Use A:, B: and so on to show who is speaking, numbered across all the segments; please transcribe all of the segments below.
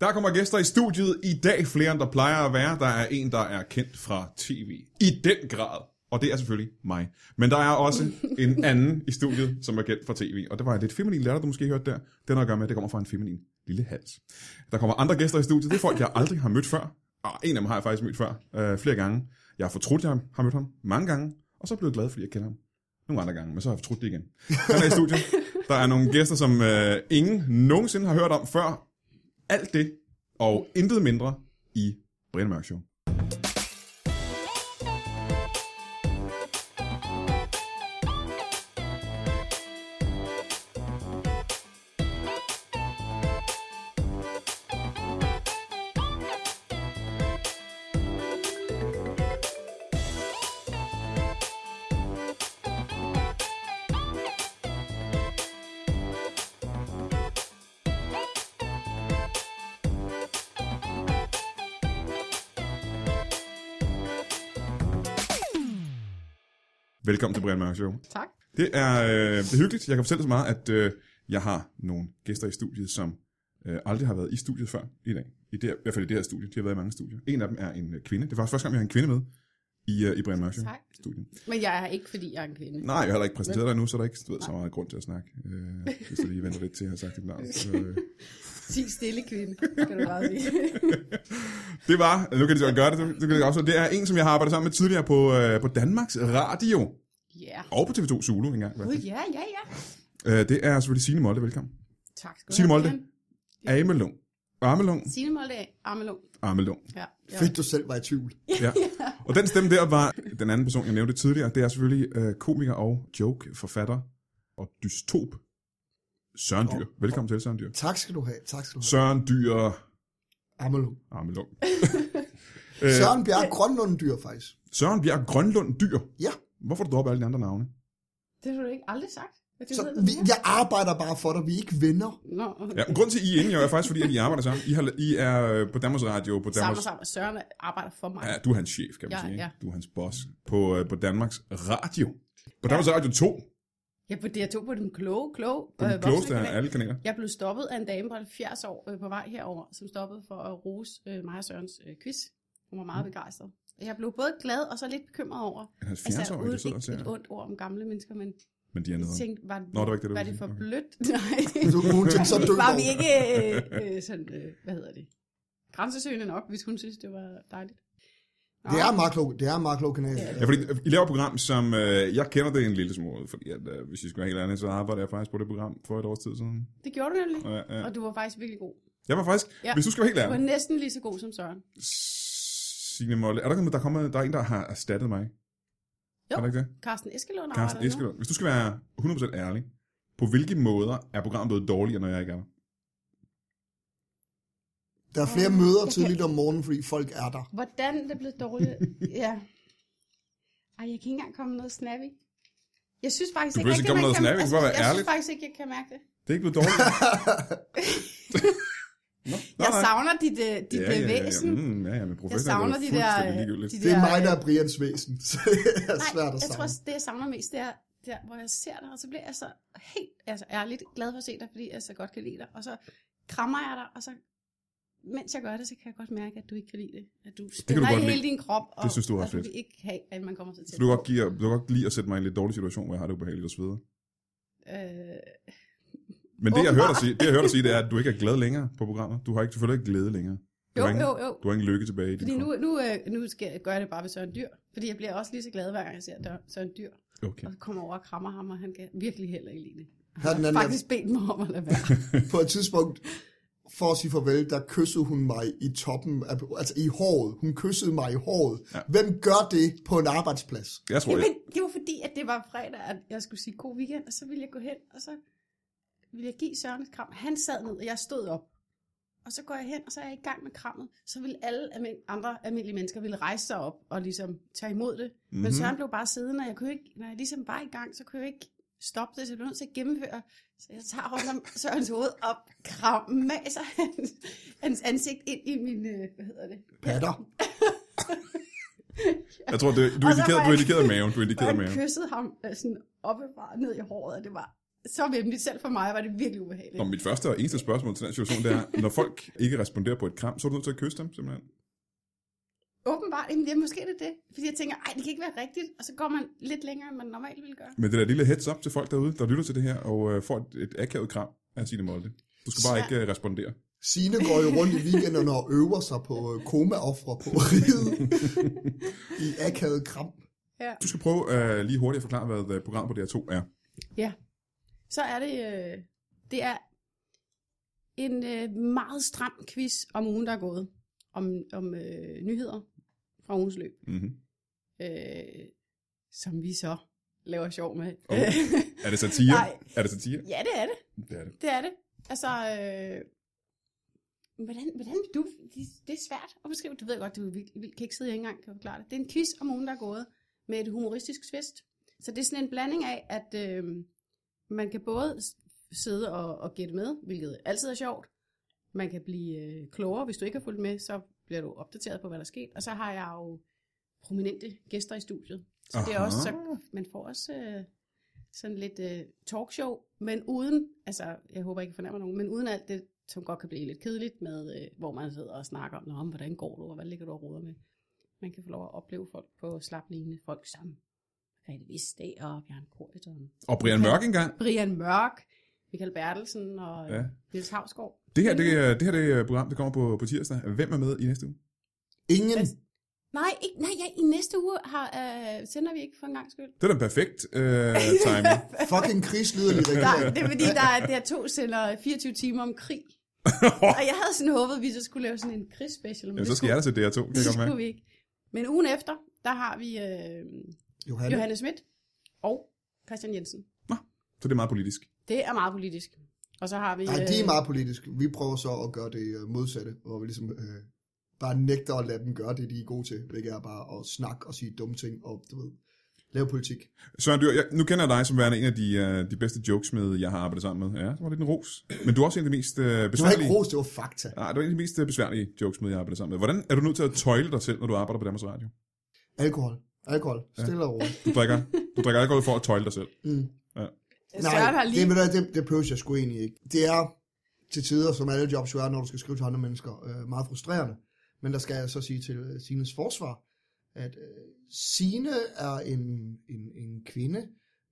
A: Der kommer gæster i studiet i dag, flere end der plejer at være. Der er en, der er kendt fra tv. I den grad. Og det er selvfølgelig mig. Men der er også en anden i studiet, som er kendt fra tv. Og det var en lidt feminin latter, du måske hørte der. Den har at gøre med, at det kommer fra en feminin lille hals. Der kommer andre gæster i studiet. Det er folk, jeg aldrig har mødt før. Og en af dem har jeg faktisk mødt før øh, flere gange. Jeg har fortrudt, at jeg har mødt ham mange gange. Og så er jeg blevet glad, fordi jeg kender ham nogle andre gange. Men så har jeg fortrudt det igen. Han er i studiet. Der er nogle gæster, som øh, ingen nogensinde har hørt om før. Alt det og intet mindre i Brian Mørk Show. Velkommen til Brian Mørk Show.
B: Tak.
A: Det er, øh, det er hyggeligt. Jeg kan fortælle så meget, at øh, jeg har nogle gæster i studiet, som øh, aldrig har været i studiet før i dag. I, det, her- I hvert fald i det her studie. De har været i mange studier. En af dem er en øh, kvinde. Det er faktisk første gang, jeg har en kvinde med i, øh, i Brian Mørk Show.
B: Tak.
A: Studien.
B: Men jeg er ikke, fordi jeg er en kvinde.
A: Nej, jeg har heller ikke præsenteret dig nu, så der er ikke du ved, så meget grund til at snakke. Øh, hvis du lige venter lidt til, at jeg har sagt dit navn. Så, øh.
B: Sig stille kvinde, kan du bare sige.
A: Det var, nu kan de så gøre det, nu kan de også. Det er en, som jeg har arbejdet sammen med tidligere på, øh, på Danmarks Radio.
B: Ja.
A: Og på TV2 Zulu engang.
B: Gud, ja, ja, ja.
A: Øh, det er selvfølgelig Signe Molde, velkommen.
B: Tak skal du
A: Signe
B: have,
A: Molde.
B: Jan.
A: Amelung. Amelung.
B: Signe Molde, Amelung.
A: Amelung.
B: Ja. ja.
C: Fedt, du selv var i tvivl.
A: Ja. Og den stemme der var den anden person, jeg nævnte tidligere. Det er selvfølgelig øh, komiker og joke, forfatter og dystop. Søren Dyr. Velkommen til, Søren Dyr.
C: Tak skal du have. Tak skal du have.
A: Søren Dyr
C: Amalung.
A: Amelung.
C: Øh. Søren Bjerg Grønlund dyr, faktisk.
A: Søren Bjerg Grønlund Dyr.
C: Ja.
A: Hvorfor har du droppet alle de andre navne?
B: Det har du ikke aldrig sagt. At du
C: Så
B: hedder
C: vi,
B: det her.
C: jeg arbejder bare for dig. Vi er ikke venner.
B: Nå,
A: Ja, men grunden til, at I er enige, er faktisk, fordi at I arbejder sammen. I, har, I er øh, på Danmarks Radio, på
B: sammen
A: Danmarks...
B: og sammen. Søren arbejder for mig.
A: Ja, du er hans chef, kan man
B: Ja,
A: sige.
B: ja.
A: ikke? Du er hans boss på, øh, på Danmarks Radio. På Danmarks Radio 2,
B: Jeg på DR2 på den kloge, kloge.
A: på den
B: øh,
A: klogeste
B: voksne
A: af alle kanaler.
B: Jeg blev stoppet af en dame på 70 år øh, på vej herover, som stoppede for at rose øh, mig og Sørens øh, quiz. Hun var
A: Mm.
B: meget begejstret. Jeg blev både glad og så lidt bekymret over,
A: En
B: altså
A: 70-årig, der
B: uden
A: sidder og
B: ikke et
A: ser.
B: ondt ord om gamle mennesker, men
A: Men de er
B: jeg
A: nede.
B: tænkte, var,
A: Nå, det var ikke det, du
B: var
A: ville
B: det for
A: sige. Okay.
B: blødt? Nej.
C: Så hun tænkte Altså, så død
B: var vi
C: over.
B: ikke øh, øh, sådan, øh, hvad hedder det, grænsesøgende nok, hvis hun synes, det var dejligt. Nå,
C: Det er meget klogt. Det er meget klogt kanal.
B: Ja.
A: Ja, fordi I laver et program, som øh, jeg kender det en lille smule, fordi at, øh, hvis I skal være helt ærlig, så arbejder jeg faktisk på det program for et års tid siden.
B: Det gjorde du nemlig,
A: Ja, ja.
B: og du var faktisk virkelig god.
A: Jeg var faktisk, ja.
B: Ja.
A: hvis du skal være helt
B: Du var
A: ærlig,
B: næsten lige så god som Søren.
A: Signe Molle, er der, kommet- der, er kommet, der er en, der har erstattet mig?
B: Jo.
A: Er der ikke det?
B: Carsten Eskelund
A: Carsten
B: arbejder nu.
A: Eskelund, hvis du skal være 100% ærlig, på hvilke måder er programmet blevet dårligere, når jeg ikke er der?
C: Der er flere møder tidligt om morgenen, fordi folk er der.
B: Hvordan det blev dårligt. ja. Ej, jeg kan ikke engang komme med noget snappy. Jeg synes faktisk
A: Du
B: ikke,
A: behøver ikke
B: rigtig,
A: komme
B: man
A: noget
B: kan-
A: snappy,
B: altså,
A: bare være
B: jeg
A: ærlig.
B: synes faktisk ikke, jeg kan mærke det.
A: Det er ikke blevet dårligere. Nå,
B: Jeg savner dit, øh, dit ja, væsen.
A: Ja, ja, mm, ja, ja, men
B: Jeg
A: professionelt er
B: savner
A: det
B: de der...
A: fuldstændig
B: øh,
A: ligegyldigt.
B: de
C: Det er
B: der,
C: mig, der
B: øh,
C: er Brians væsen. Så det er
B: Nej,
C: svært at
B: jeg tror,
C: savne.
B: også, det jeg savner mest, det er, der, hvor jeg ser dig, og så bliver jeg så helt altså, ærligt glad for at se dig, fordi jeg så godt kan lide dig. Og så krammer jeg dig, og så mens jeg gør det, så kan jeg godt mærke, at du ikke kan lide det. At du
A: kan du
B: spænder i
A: godt
B: hele
A: lide.
B: din krop, og,
A: Det synes du er
B: og du
A: fedt.
B: vil ikke have, at man kommer så
A: Så
B: tæt.
A: du kan, godt give, du kan godt lide at sætte mig i en lidt dårlig situation, hvor jeg har det ubehageligt og så videre.
B: Øh,
A: Men det, jeg hørte dig sige, det, jeg hørte dig sige, det er, at du ikke er glad længere på programmet. Du har ikke, selvfølgelig ikke glæde længere. Du
B: jo,
A: har ingen,
B: jo, jo.
A: Du har ingen lykke tilbage i din
B: Fordi nu,
A: krop.
B: nu, øh, nu skal jeg gøre det bare ved Søren Dyr. Fordi jeg bliver også lige så glad, hver gang jeg ser Dør- Søren Dyr.
A: Okay.
B: Og så kommer over og krammer ham, og han kan virkelig heller ikke lide det.
C: Her er den anden,
B: Faktisk bedt mig om at lade være.
C: på et tidspunkt, for at sige farvel, der kyssede hun mig i toppen, af, altså i håret. Hun kyssede mig i håret.
A: Ja.
C: Ja. Hvem gør det på en arbejdsplads?
A: Jeg tror, jeg,
B: Jamen, det var fordi, at det var fredag, at jeg skulle sige god weekend, og så ville jeg gå hen, og så ville jeg give Søren et kram. Han sad ned, og jeg stod op. Og så går jeg hen, og så er jeg i gang med krammet. Så ville alle almin- andre almindelige mennesker ville rejse sig op og ligesom tage imod det. Mm-hmm.
A: Mhm.
B: Men Søren blev bare siddende, og jeg kunne ikke, når jeg ligesom var i gang, så kunne jeg ikke stoppe det, så jeg blev nødt til at gennemføre. Så jeg tager rundt om Sørens hoved og krammer hans, hans ansigt ind i min, øh, hvad hedder det?
C: Patter.
A: jeg tror det, du,
B: Og så
A: indikerede,
B: var
A: du
B: jeg-
A: indikerede maven. Du
B: Og
A: indikerede
B: han
A: maven.
B: kyssede ham øh, sådan oppefra ned i håret, og det var så vemmeligt. Selv for mig var det virkelig ubehageligt.
A: Nå, mit første og eneste spørgsmål til den situation, det er, når folk ikke responderer på et kram, så er du nødt til at kysse dem, simpelthen.
B: Åbenbart, jamen, det er måske det er det. Fordi jeg tænker, ej, det kan ikke være rigtigt. Og så går man lidt længere, end man normalt ville gøre.
A: Men det der lille heads up til folk derude, der lytter til det her, og øh, får et, et akavet kram af Signe Molde. Du skal bare
B: Ja.
A: ikke øh, respondere.
C: Signe går jo rundt i weekenderne og øver sig på øh, komaoffre på riget i akavet kram.
B: Ja.
A: Du skal prøve øh, lige hurtigt at forklare, hvad øh, programmet på DR2 er.
B: Så er det, øh, det er en øh, meget stram quiz om ugen, der er gået. Om, om øh, nyheder fra ugens løb.
A: Mm-hmm.
B: Øh, som vi så laver sjov med.
A: Oh.
B: Øh,
A: Er det satire?
B: Nej.
A: Er det satire?
B: ja, det er det.
A: Det er det.
B: Det er det. Altså, øh, hvordan, hvordan vil du, det, det er svært at beskrive, det ved jeg godt, du vil- vil- kan ikke sidde her engang kan forklare det. Det er en quiz om ugen, der er gået med et humoristisk twist. Så det er sådan en blanding af, at øh, man kan både s- sidde og, og gætte med, hvilket altid er sjovt. Man kan blive øh, klogere, hvis du ikke har fulgt med, så bliver du opdateret på, hvad der er sket. Og så har jeg jo prominente gæster i studiet. Så det er
A: Aha.
B: også, så man får også øh, sådan lidt øh, talkshow, men uden, altså jeg håber ikke jeg fornærmer nogen, men uden alt det, som godt kan blive lidt kedeligt med, øh, hvor man sidder og snakker om, "Nå, men hvordan går du, og hvad ligger du og roder med. Man kan få lov at opleve folk på slaplignende folk som Grete Vestdag og Bjørn Kort og
A: Og Brian Mørk engang.
B: Brian Mørk, Michael Bertelsen og
A: Ja.
B: ja. Niels Havsgaard.
A: Det her, det, er- det her det er program, der kommer på, på tirsdag. Hvem er med i næste uge?
C: Ingen
B: Altså, Nej, ikke, nej ja, i næste uge har, øh, sender vi ikke for en gang skyld.
A: Det er den perfekt øh, timing.
C: fucking krigslyderlig
B: Nej,
C: regering.
B: det er fordi, der er, der er to sender 24 timer om krig. Og jeg havde sådan håbet, at vi så skulle lave sådan en krigsspecial. men
A: Jamen,
B: det
A: så skal jeg da se DR2. Det
B: skulle,
A: kan
B: det
A: jeg godt
B: skulle
A: mærke.
B: vi ikke. Men ugen efter, der har vi øh,
C: Johanne,
B: Johanne Schmidt og Christian Jensen.
A: Så det er meget politisk.
B: Det er meget politisk. Og så har vi...
C: nej, de er
B: øh,
C: meget politiske. Vi prøver så at gøre det øh, modsatte, hvor vi ligesom øh, bare nægter at lade dem gøre det, de er gode til, hvilket er bare at snakke og sige dumme ting og du ved, lave politik.
A: Søren Dyr, jeg, nu kender jeg dig som værende en af de, øh, de bedste jokesmed, jeg har arbejdet sammen med. Ja, det var lidt en ros. Men du er også en af de mest øh,
C: Det var ikke
A: besværlige.
C: ros, det var fakta.
A: Nej, du er en af de mest øh, besværlige jokesmed, jeg har arbejdet sammen med. Hvordan er du nødt til at tøjle dig selv, når du arbejder på Danmarks Radio?
C: Alkohol. Alkohol. Stille og roligt.
A: Du drikker, du drikker alkohol for at tøjle dig selv.
C: Mm.
B: Øh, Søren har lige...
C: det, ved du hvad, det, det behøver jeg sgu egentlig ikke. Det er til tider, som alle jobs jo er, når du skal skrive til andre mennesker, øh, meget frustrerende. Men der skal jeg så sige til øh, Sines forsvar, at øh, Sine er en, en, en kvinde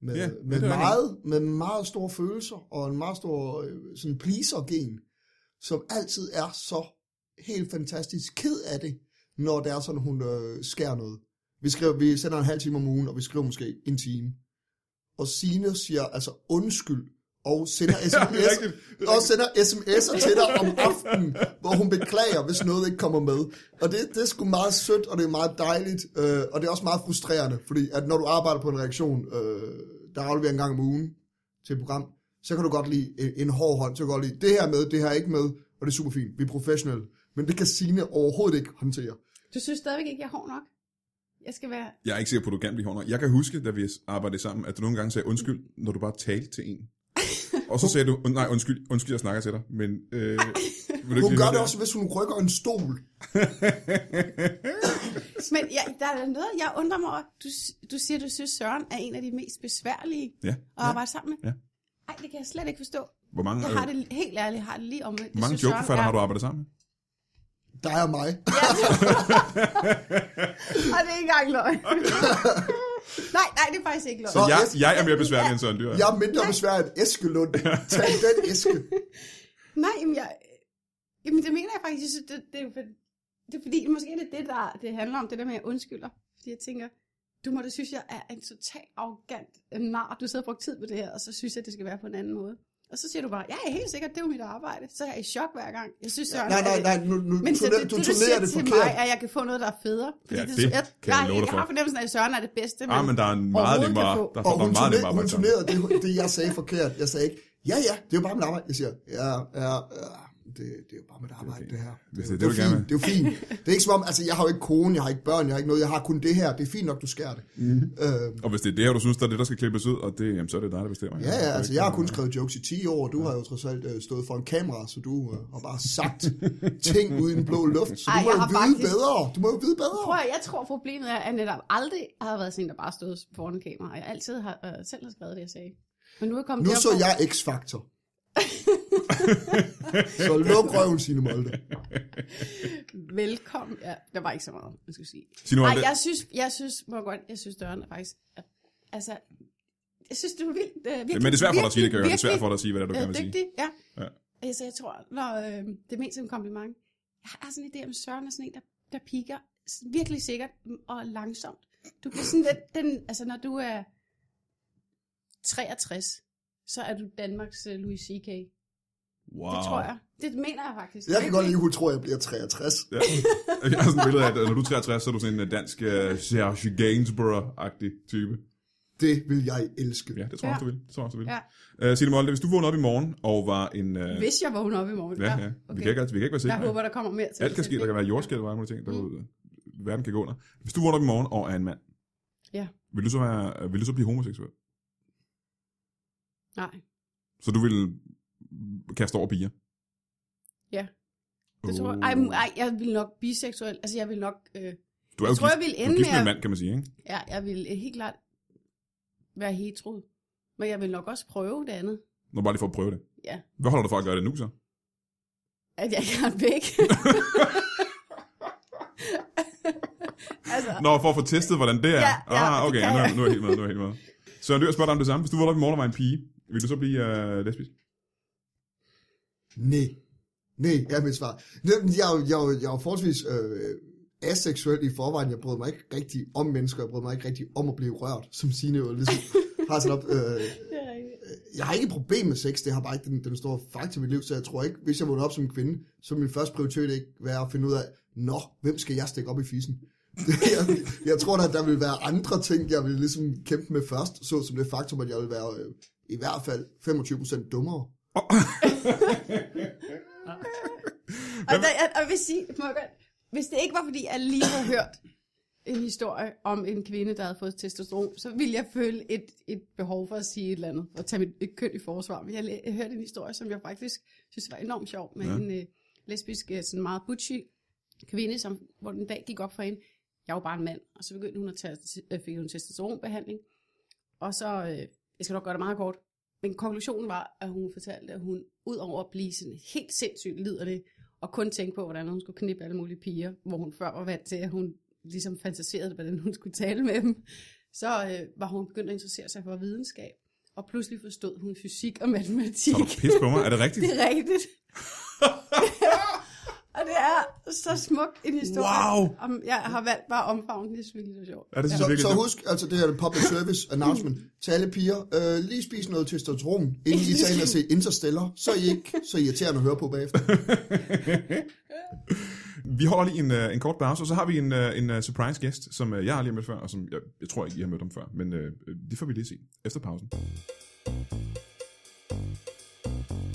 C: med,
A: Ja,
C: ja,
A: ja,
C: med,
A: det er
C: meget, med meget store følelser og en meget stor øh, sådan pleaser-gen, som altid er så helt fantastisk ked af det, når det er sådan, hun øh, skærer noget. Vi, skriver, vi sender en halv time om ugen, og vi skriver måske en time. Og Sine siger altså undskyld, og sender sms,
A: rigtigt. Det er
C: og sender sms'er til dig om aftenen, hvor hun beklager, hvis noget ikke kommer med. Og det, det er sgu meget sødt, og det er meget dejligt, øh, og det er også meget frustrerende, fordi at når du arbejder på en reaktion, øh, der afleverer en gang om ugen til et program, så kan du godt lide en, en hård hånd, så kan du godt lide, det her er med, det her er ikke med, og det er super fint, vi er professionelle. Men det kan Signe overhovedet ikke håndtere.
B: Du synes stadigvæk ikke, jeg er hård nok? Jeg skal være...
A: Jeg er ikke sikker på, at du gerne bliver hårdere. Jeg kan huske, da vi arbejdede sammen, at du nogle gange sagde undskyld, når du bare talte til en. Og så sagde du, "Und- nej, undskyld, undskyld, jeg snakker til dig, men... Øh, vil du ikke
C: Hun
A: lige
C: gør
A: høre
C: det også, hvis hun rykker en stol.
B: Men ja, der er noget, jeg undrer mig over. Du, du siger, du synes, Søren er en af de mest besværlige
A: Ja.
B: at arbejde sammen med.
A: Ja.
B: Nej, det kan jeg slet ikke forstå.
A: Hvor mange,
B: Jeg
A: øh,
B: har det helt ærligt, jeg har det lige om.
A: hvor mange jokeforfatter har du arbejdet sammen med?
C: Der er mig.
B: Og det er ikke engang løgn. nej, nej, det er faktisk ikke løgn.
A: Så
C: Nå,
A: jeg,
C: yes.
A: jeg er mere besværlig end Søren Dyr. er.
C: Jeg er mindre besværet end Eskelund. Tag den æske.
B: Nej, jamen, jeg, jamen det mener jeg faktisk. Jeg synes, det, det, er jo for, det er fordi, måske er det det, der det handler om, det der med, at jeg undskylder. Fordi jeg tænker, du må da synes, jeg er en total arrogant øh, nar. Du sidder og brugt tid på det her, og så synes jeg, det skal være på en anden måde. Og så siger du bare, ja, jeg er helt sikkert, det er jo mit arbejde. Så er jeg i chok hver gang. Jeg synes, Søren,
C: Nej, nej,
B: at-
C: nej. Nu, nu,
B: Men så
C: turner,
B: det,
C: du
B: det, du
C: turnerer
B: siger
C: det
B: til
C: forkert.
B: mig, at jeg kan få noget, der er federe. Fordi
A: Ja, det
B: jeg,
A: kan jeg
B: nej,
A: love dig
B: jeg har
A: for.
B: fornemmelsen af, at Søren er det bedste.
A: Ah, men der er en meget
B: Overhovedet
A: nemmere,
B: kan få.
A: der,
C: Og
A: der
C: hun,
A: er meget
C: turner,
A: nemmere
C: hun
A: arbejde sammen.
C: turnerede det, det, jeg sagde forkert. Jeg sagde ikke, ja, ja, det er jo bare mit arbejde. Jeg siger, ja, ja, ja. Det, det er jo bare mit arbejde, det her.
A: Hvis
C: det,
A: det er det, du gerne
C: fint, det er jo fint. Det er ikke som om, altså jeg har jo ikke kone, jeg har ikke børn, jeg har ikke noget, jeg har kun det her. Det er fint nok, du skærer det. Mm-hmm. Øh,
A: Og hvis det er det her, du synes, der er det, der skal klippes ud, og det, jamen, så er det dig, der bestemmer.
C: ja, ja,
A: Det er
C: altså
A: ikke-
C: jeg har kun skrevet jokes i 10 år, og du har jo trods alt øh, stået for en kamera, så du øh, har bare sagt ting ud i den blå luft. Så du
B: Ej,
C: må
B: jeg
C: jo
B: har
C: vide
B: faktisk-
C: bedre. Du må jo vide bedre.
B: Prøv at, jeg tror, problemet er, at jeg netop aldrig har været sådan en, der bare stod foran kamera. Jeg altid har øh, selv har skrevet det, jeg sagde. Men nu er jeg kommet
C: Nu
B: derop,
C: så jeg X-Factor. så luk røven, Signe Molde.
B: hvor- Velkommen. Ja, der var ikke så meget, man skulle sige.
A: Sig nu om
B: Nej,
A: det.
B: jeg synes, jeg synes, må jeg godt, jeg synes, døren er faktisk... er- Altså, jeg synes, det var vildt. Uh, virkelig,
A: Men det er svært for dig at sige det, kan jeg høre. Det er
B: virkelig-
A: svært for dig at sige, hvad det er, du gerne
B: øh,
A: vil sige.
B: dygtig, ja.
A: Ja.
B: ja. Så jeg tror, når, øh, det er mest som en kompliment. Jeg har sådan en idé om Søren er sådan en, der, der piker s- virkelig sikkert mm, og langsomt. Du bliver sådan den, den altså når du er 63, så er du Danmarks øh, Louis C.K. Det
A: Wow.
B: tror jeg. Det mener jeg faktisk.
C: Jeg kan godt lide, at hun tror, at jeg bliver 63.
A: Ja. Jeg har sådan et billede af, at når du er 63, så er du sådan en øh, dansk uh, Serge Gainsborough-agtig type.
C: Det vil jeg elske.
A: Ja, det tror jeg
B: Ja.
A: også, du vil. Det tror jeg også, du vil.
B: Ja.
A: Ja. Uh, Signe Molde, hvis du vågnede op i morgen og var en... Uh,
B: Hvis jeg vågner op i morgen.
A: ja, ja. Okay. Vi, kan ikke, vi kan ikke være
B: jeg
A: sikre.
B: håber, der kommer mere til.
A: Alt kan
B: det. Mm.
A: ske, der kan være jordskæld og alle mulige ting, derude. Verden kan gå under. Hvis du vågner op i morgen og er en mand,
B: Ja.
A: vil, du så være, vil du så blive homoseksuel?
B: Nej,
A: Så du vil kaste over piger?
B: Ja. det tror jeg. Ej, m- ej, jeg vil nok biseksuel. Altså, jeg vil nok... Øh,
A: du er jo
B: jeg tror,
A: gift,
B: jeg vil
A: du
B: ende
A: er gift med en
B: med at
A: mand, kan man sige, ikke?
B: Ja, jeg vil øh, helt klart være hetero. Men jeg vil nok også prøve det andet.
A: Nå, bare lige for at prøve det.
B: Ja.
A: Hvad holder du for at gøre det nu så?
B: At jeg gerne vil ikke. altså,
A: Nå, for at få testet, hvordan det er.
B: Ja, ja,
A: ah,
B: det
A: okay,
B: kan
A: nu, er-
B: jeg.
A: nu er jeg helt med, nu er jeg helt med. Så jeg spørger dig om det samme. Hvis du vågnede op i morgen og var en pige, vil du så blive øh, lesbisk?
C: Nej. Nej, er mit svar. Det- Jeg, er jo- jeg, er jo- jeg er jo forholdsvis øh, aseksuel i forvejen. Jeg bryder mig ikke rigtig om mennesker. Jeg bryder mig ikke rigtig om at blive rørt, som Signe jo ligesom har sat op. Øh,
B: det er rigtigt.
C: jeg har ikke et problem med sex, det har bare ikke den, den store faktor i mit liv, så jeg tror ikke, hvis jeg vågner op som kvinde, så vil min første prioritet ikke være at finde ud af, nå, hvem skal jeg stikke op i fissen? jeg, jeg tror da, at der vil være andre ting, jeg vil ligesom kæmpe med først, så som det faktum, at jeg vil være øh, i hvert fald 25% dummere.
B: og, der, jeg, og jeg vil sige, må jeg godt, hvis det ikke var, fordi jeg lige havde hørt en historie om en kvinde, der havde fået testosteron, så ville jeg føle et, et behov for at sige et eller andet, og tage mit et køn i forsvar. Men jeg, læ- jeg hørte en historie, som jeg faktisk synes var enormt sjov, med
A: Ja.
B: ja. en øh, lesbisk, øh, sådan meget butchy kvinde, som, hvor den dag gik op for hende, jeg var bare en mand, og så begyndte hun at tage, øh, fik hun testosteronbehandling, og så, øh, jeg skal nok gøre det meget kort, men konklusionen var, at hun fortalte, at hun ud over at blive sådan helt sindssygt liderlig, og kun tænke på, hvordan hun skulle knippe alle mulige piger, hvor hun før var vant til, at hun ligesom fantaserede, hvordan hun skulle tale med dem, så øh, var hun begyndt at interessere sig for videnskab, og pludselig forstod hun fysik og matematik.
A: Har du pis på mig? Er det rigtigt?
B: Det er rigtigt. og det er så smuk en historie.
A: Wow!
B: Om, jeg har valgt bare at omfavne den, det synes jeg er sjovt.
A: Ja, det synes
C: Så,
A: jeg virkelig.
C: så
A: det-
C: husk, altså det her er en public service announcement til alle piger, øh, lige spis noget testosteron, inden I tager ind og se Interstellar, så er I ikke så irriterende at høre på bagefter.
A: Vi holder lige en, øh, en kort pause, og så har vi en, øh, en øh, surprise gæst, som øh, jeg har lige mødt før, og som jeg, jeg tror ikke, I har mødt ham før, men øh, øh, det får vi lige se efter pausen.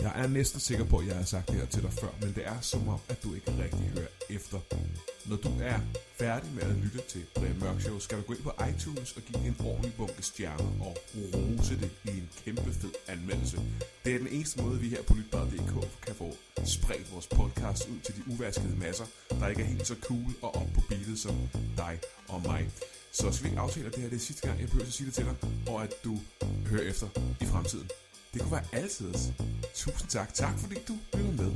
A: Jeg er næsten sikker på, at jeg har sagt det her til dig før, men det er som om, at du ikke rigtig hører efter. Når du er færdig med at lytte til Brian Mørk Show, skal du gå ind på iTunes og give det en ordentlig bunke stjerner og rose det i en kæmpe fed anmeldelse. Det er den eneste måde, vi her på Lytbar.dk kan få spredt vores podcast ud til de uvaskede masser, der ikke er helt så cool og op på beatet som dig og mig. Så skal vi ikke aftale, at det her det er sidste gang, jeg behøver at sige det til dig, og at du hører efter i fremtiden. Det kunne være altid. Tusind tak. Tak fordi du lytter med.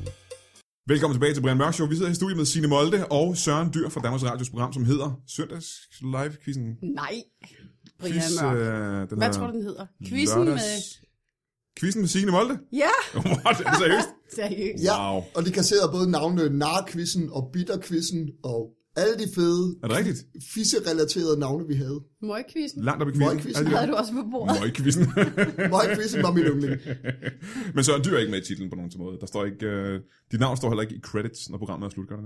A: Velkommen tilbage til Brian Mørk Show. Vi sidder i studiet med Signe Molde og Søren Dyr fra Danmarks Radios program, som hedder Søndags live quizzen
B: Nej, Brian Mørk.
A: øh, den
B: Hvad
A: hedder
B: tror du, den hedder? Quizzen med...
A: lørdags- Quizzen med Signe Molde?
B: Ja,
A: What? Er det seriøst?
B: seriøst.
C: Ja,
A: Wow.
C: og de kasserede både navnene Narquizzen og Bitterquizzen og alle de fede
A: Er det rigtigt?
C: fisse-relaterede navne, vi havde.
B: Møgquizzen
A: Langt op i quizzen.
C: Møgquizzen.
B: havde du også på bordet.
A: Møgkvisten.
C: Møgquizzen var min yndling.
A: Men Søren Dyr er ikke med i titlen på nogen måde. Der står ikke, øh, dit navn står heller ikke i credits, når programmet er slut, gør det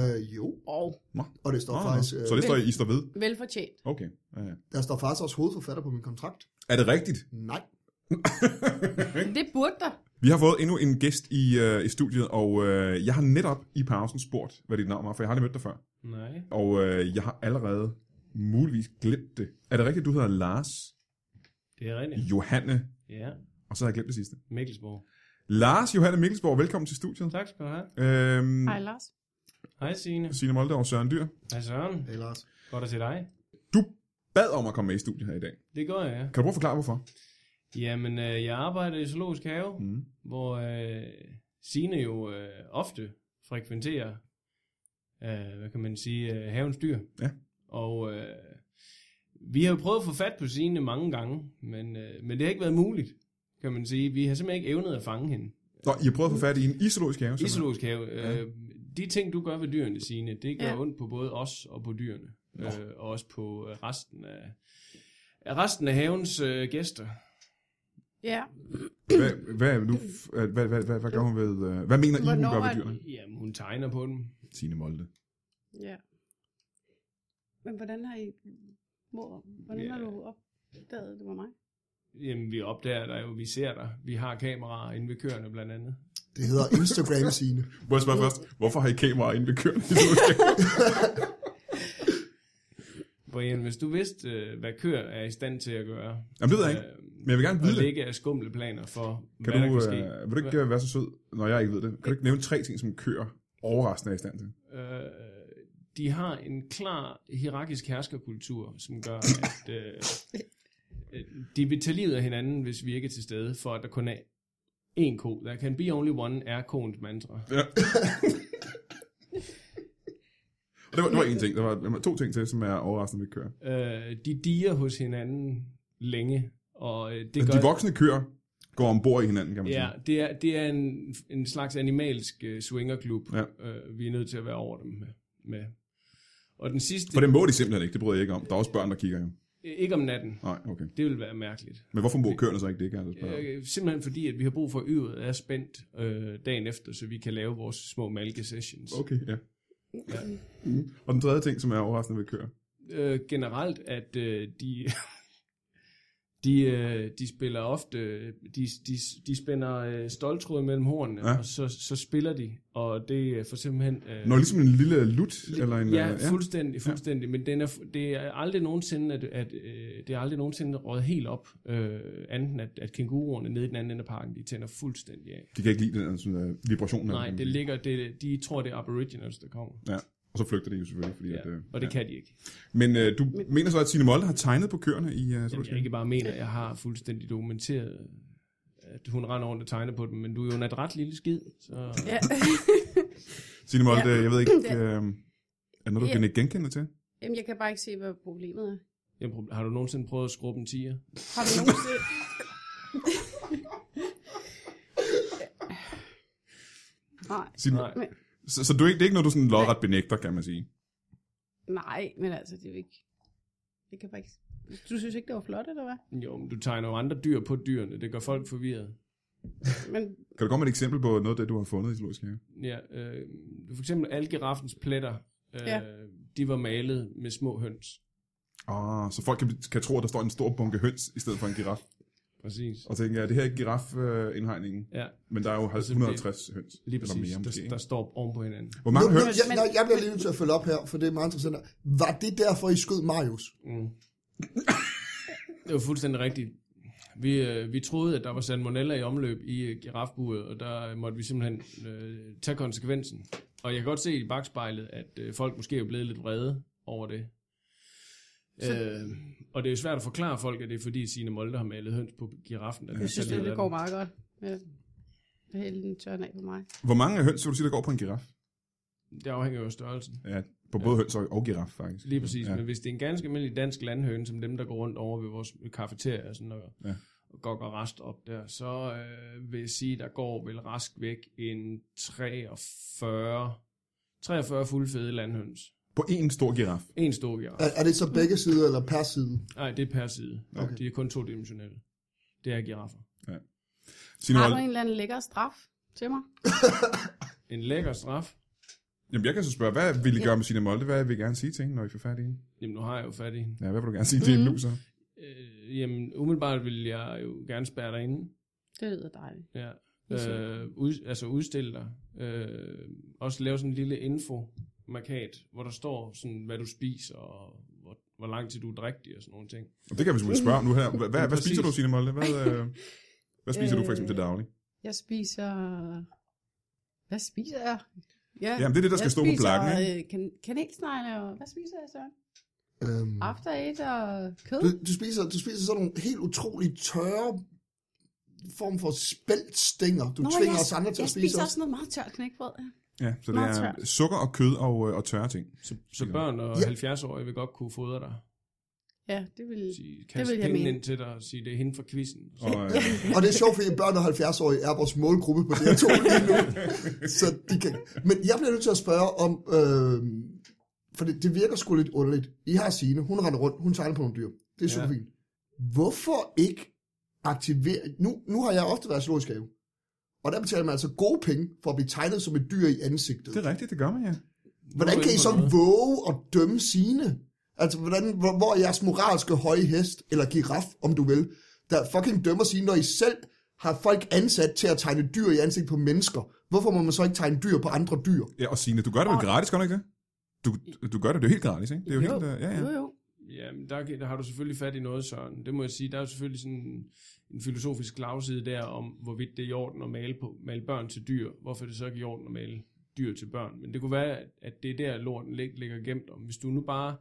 A: det?
C: Øh, jo,
B: Og
C: og det står
A: Nå,
C: oh,
A: nå.
C: faktisk... Øh,
A: Så det står, I står ved?
B: velfortjent.
A: Okay. Ja, ja.
C: Der står faktisk også hovedforfatter på min kontrakt.
A: Er det rigtigt?
C: Nej.
B: Det burde der.
A: Vi har fået endnu en gæst i, øh, i studiet, og øh, jeg har netop i pausen spurgt, hvad dit navn var, for jeg har aldrig mødt dig før.
D: Nej.
A: Og øh, jeg har allerede muligvis glemt det. Er det rigtigt, du hedder Lars
D: Det er rigtigt.
A: Johanne,
D: Ja.
A: og så har jeg glemt det sidste.
D: Mikkelsborg.
A: Lars Johanne Mikkelsborg, velkommen til studiet.
D: Tak skal du have.
A: Øhm,
B: Hej, Lars.
D: Hej Signe.
A: Signe Molde og Søren Dyr.
D: Hej Søren.
C: Hey, Lars.
D: Godt at se dig.
A: Bad om at komme med i studiet her i dag.
D: Det gør jeg, ja.
A: Kan du prøve at forklare, hvorfor?
D: Jamen, øh, jeg arbejder i Zoologisk Have,
A: Mm.
D: hvor øh, Signe jo øh, ofte frekventerer, øh, hvad kan man sige, øh, havens dyr.
A: Ja.
D: Og øh, vi har jo prøvet at få fat på Signe mange gange, men, øh, men det har ikke været muligt, kan man sige. Vi har simpelthen ikke evnet at fange hende.
A: Nå, I har prøvet at få fat i en isologisk have,
D: I
A: simpelthen.
D: zoologisk have,
A: Ja.
D: øh, de ting, du gør ved dyrene, Signe, det gør ja.
B: Ja.
D: ondt på både os og på dyrene. Øh, og også på øh, resten af, af resten af havens øh, gæster.
B: Ja.
A: Hvad, hvad, er nu, hvad, hvad, hvad, hvad, hvad gør hun ved... øh, Hvad mener I, hun
B: Hvornår
A: gør ved
B: er-
A: dyrene?
D: Jamen, hun tegner på dem.
A: Signe Molde.
B: Ja. Men hvordan har I... Mor, hvordan
D: Ja.
B: har du opdaget, at det var mig?
D: Jamen, vi opdager dig jo, vi ser dig. Vi har kameraer inde ved køerne blandt andet.
C: Det hedder Instagram sine.
A: Må jeg spørge først, hvorfor har I kameraer inde ved køerne? i zoologisk have?
D: Brian, hvis du vidste, øh, hvad køer er i stand til at gøre, øh,
A: Jamen, det ved jeg ikke. Men jeg vil gerne
D: og
A: vide
D: det
A: det.
D: ikke er skumle planer for,
A: Kan
D: hvad
A: du,
D: der kan ske.
A: øh, vil du ikke øh, være så sød, når jeg ikke ved det? Kan du ikke nævne tre ting, som køer overraskende er i stand til?
D: Øh, de har en klar hierarkisk herskerkultur, som gør, at øh, øh, de vil tage livet af hinanden, hvis vi ikke er til stede, for at der kun er én ko. Der can be only one, er koens mantra.
A: Ja. Og det var, det var en ting. Der var, der var to ting til, som er overraskende ved køer.
D: Øh, de diger hos hinanden længe, og øh, det
A: Men
D: gør...
A: Altså, de voksne køer går ombord i hinanden, kan man
D: Ja,
A: sige.
D: det er, det er en, en slags animalsk øh, swingerklub,
A: Ja.
D: øh, vi er nødt til at være over dem med. med. Og den sidste,
A: For det må de simpelthen ikke, det bryder jeg ikke om. Der er også børn, der kigger jo.
D: ikke om natten,
A: Nej, okay.
D: det vil være mærkeligt.
A: Men hvorfor må køerne så ikke det, kan jeg så spørge? om?
D: Øh, simpelthen fordi, at vi har brug for, at øvet er spændt øh, dagen efter, så vi kan lave vores små malke-sessions.
A: Okay, ja.
D: øh. Ja.
A: Mm. Og den tredje ting, som er overraskende ved køer.
D: Øh, generelt, at øh, de... De, øh, de spiller ofte, de, de, de spænder øh, stoltråd mellem hornene,
A: Ja.
D: ja. og så, så spiller de, og det får simpelthen... Øh,
A: Nå, ligesom en lille lut, eller en... øh,
D: Ja, fuldstændig, fuldstændig. Men den er, fu- det er aldrig nogensinde, at, at øh, det er aldrig nogensinde røget helt op, øh, anden at, at kænguruerne nede i den anden ende af parken, de tænder fuldstændig af.
A: De kan ikke lide den der sådan, uh, vibration.
D: Nej, det ligger, det, de tror, det er aboriginals, der kommer.
A: Ja, og så flygter de jo selvfølgelig, fordi...
D: Ja,
A: At, uh,
D: og det kan de ikke.
A: Men uh, du mener så, at Signe Molde har tegnet på køerne i... Uh,
D: Jamen, jeg ikke bare mener, at jeg har fuldstændig dokumenteret, at hun render rundt og tegner på dem, men du er jo en adræt lille skid, så...
B: Ja.
A: Signe Molde,
B: Ja.
A: jeg ved ikke... Uh, er der noget, du
B: Ja.
A: kan ikke genkende til?
B: Jamen, jeg kan bare ikke se, hvad problemet er.
D: Jeg, prob- har du nogensinde prøvet at skrubbe en tiger?
B: Har du nogensinde... nej,
A: Signe,
D: Nej.
A: så, så du, er ikke- det er ikke noget, du sådan lodret benægter, kan man sige.
B: nej, men altså, det er jo ikke... Det kan bare ikke... Du synes ikke, det var flot, eller hvad?
D: Jo, men du tegner jo andre dyr på dyrene, det gør folk forvirret.
B: Men
A: Kan du komme med et eksempel på noget af det, du har fundet i zoologisk have?
D: Ja, øh, for eksempel alle giraffens pletter, øh,
B: Ja.
D: de var malet med små høns.
A: Ah, så folk kan, kan tro, at der står en stor bunke høns i stedet for en giraf.
D: Præcis.
A: Og tænker, er det her ikke girafindhegningen?
D: Ja,
A: Men der er jo
D: Altså,
A: 150 høns.
D: lige
A: eller
D: præcis.
A: mere måske.
D: der, der står oven på hinanden.
A: Hvor
C: Nu,
A: mange
C: nu,
A: høns?
C: jeg, nej, jeg bliver lige nødt til at følge op her, for det er meget interessant. Var det derfor, I skød Marius?
D: Mm. Det var fuldstændig rigtigt. Vi, øh, vi troede, at der var salmonella i omløb i øh, girafburet, og der øh, måtte vi simpelthen øh, tage konsekvensen. Og jeg kan godt se i bagspejlet, at øh, folk måske er blevet lidt vrede over det. Øh, og det er jo svært at forklare folk, at det er fordi Signe Molde har malet høns på giraffen. at
B: jeg synes, det, det
D: salmonella.
B: går meget godt. Ja. Hælde den tørn af på mig.
A: Hvor mange høns vil du sige, der går på en giraf?
D: Det afhænger jo af størrelsen.
A: Ja, på både høns og- og giraf, faktisk.
D: Lige præcis,
A: Mm, Ja.
D: ja. men hvis det er en ganske almindelig dansk landhøne, som dem, der går rundt over ved vores kafeteria og sådan noget,
A: Ja.
D: ja. og går og rest op der, så øh, vil jeg sige, der går vel rask væk en 43, 43 fuldfede landhøns.
A: På en stor giraf.
D: En stor giraf.
C: Er, er det så begge sider eller per side?
D: Nej, det er per side.
C: Okay.
D: Okay. De er kun todimensionelle. Det er giraffer.
A: Signe
B: Har du
A: Molde-
B: en eller anden lækker straf til mig?
D: En lækker straf.
A: Jamen, jeg kan så spørge, hvad vil I gøre med Signe Molde? Hvad vil I gerne sige til hende, når I får fat i hende?
D: Jamen, nu har jeg jo fat i. hende.
A: Ja, hvad vil du gerne sige
B: Mm.
A: til hende nu, så?
D: Øh, jamen, umiddelbart vil jeg jo gerne spærre dig inde.
B: Det lyder dejligt.
D: Ja.
B: Yes.
D: Øh, ud, altså udstille dig. Øh, også lave sådan en lille info-markat, hvor der står, sådan, hvad du spiser, og hvor, hvor lang tid du er drægtig og sådan nogle ting.
A: Og det kan vi simpelthen spørge om nu her. Hvad, hvad, hvad
D: Præcis.
A: spiser du, Signe Molde? Hvad, øh, hvad spiser du for eksempel til
B: Øh,
A: daglig?
B: Jeg spiser... Hvad spiser jeg? Ja,
A: Jamen, det er det, der skal
B: jeg
A: stå på
B: spiser,
A: plakken, ikke?
B: øh, kan- kanelsnegle, og hvad spiser jeg så?
C: Øhm,
A: Mm.
B: After eight og kød.
C: du, du, spiser, du spiser sådan nogle helt utroligt tørre form for spæltstænger, du
B: Nå,
C: Nå, tvinger
B: jeg,
C: os andre til
B: jeg
C: at spise
B: spiser
C: også.
B: også noget meget tørt knækbrød. Ja.
A: Ja, så det
B: øh, Meget
A: er
B: tørt.
A: sukker og kød og, øh, og tørre ting.
D: Så, så børn og
C: Ja.
D: 70-årige vil godt kunne fodre dig.
B: Ja, det vil...
D: Sige, kaste
B: vil jeg
D: pinden
B: mene.
D: ind til dig og sige, det er hende fra quizzen. Og så,
A: Og, øh,
C: Og det er sjovt, fordi børn og 70-årige er vores målgruppe på det her to lige nu. Så de kan... Men jeg bliver nødt til at spørge om... Øh, for det, det virker sgu lidt underligt. I har Signe, hun render rundt, hun tegner på nogle dyr. Det er super
D: Ja.
C: fint. Hvorfor ikke aktivere... Nu, nu har jeg ofte været i zoologisk have. Og der betaler man altså gode penge for at blive tegnet som et dyr i ansigtet.
A: det er rigtigt, det gør man, ja.
C: Hvordan
D: Nu er
C: kan
D: vi
C: I
D: inde
C: så
D: på noget.
C: våge at dømme sine? Altså, hvordan, hvor, hvor er jeres moralske høje hest, eller giraf, om du vil, der fucking dømmer sine, når I selv har folk ansat til at tegne dyr i ansigt på mennesker? Hvorfor må man så ikke tegne dyr på andre dyr?
A: ja. Og Signe, du gør det vel
B: Og-
A: gratis, gør du ikke det? Du, du gør det, det er jo helt gratis, ikke? Det er jo,
B: Jo.
A: helt... Øh, ja, ja.
B: Jo, jo.
D: Jamen, der, kan- der har du selvfølgelig fat i noget, Søren. Det må jeg sige. Der er jo selvfølgelig sådan en, en filosofisk slagside der, om hvorvidt det er i orden at male, på, male børn til dyr. Hvorfor er det så ikke i orden at male dyr til børn? Men det kunne være, at- at det er der, lorten lig, ligger gemt om. Hvis du nu bare,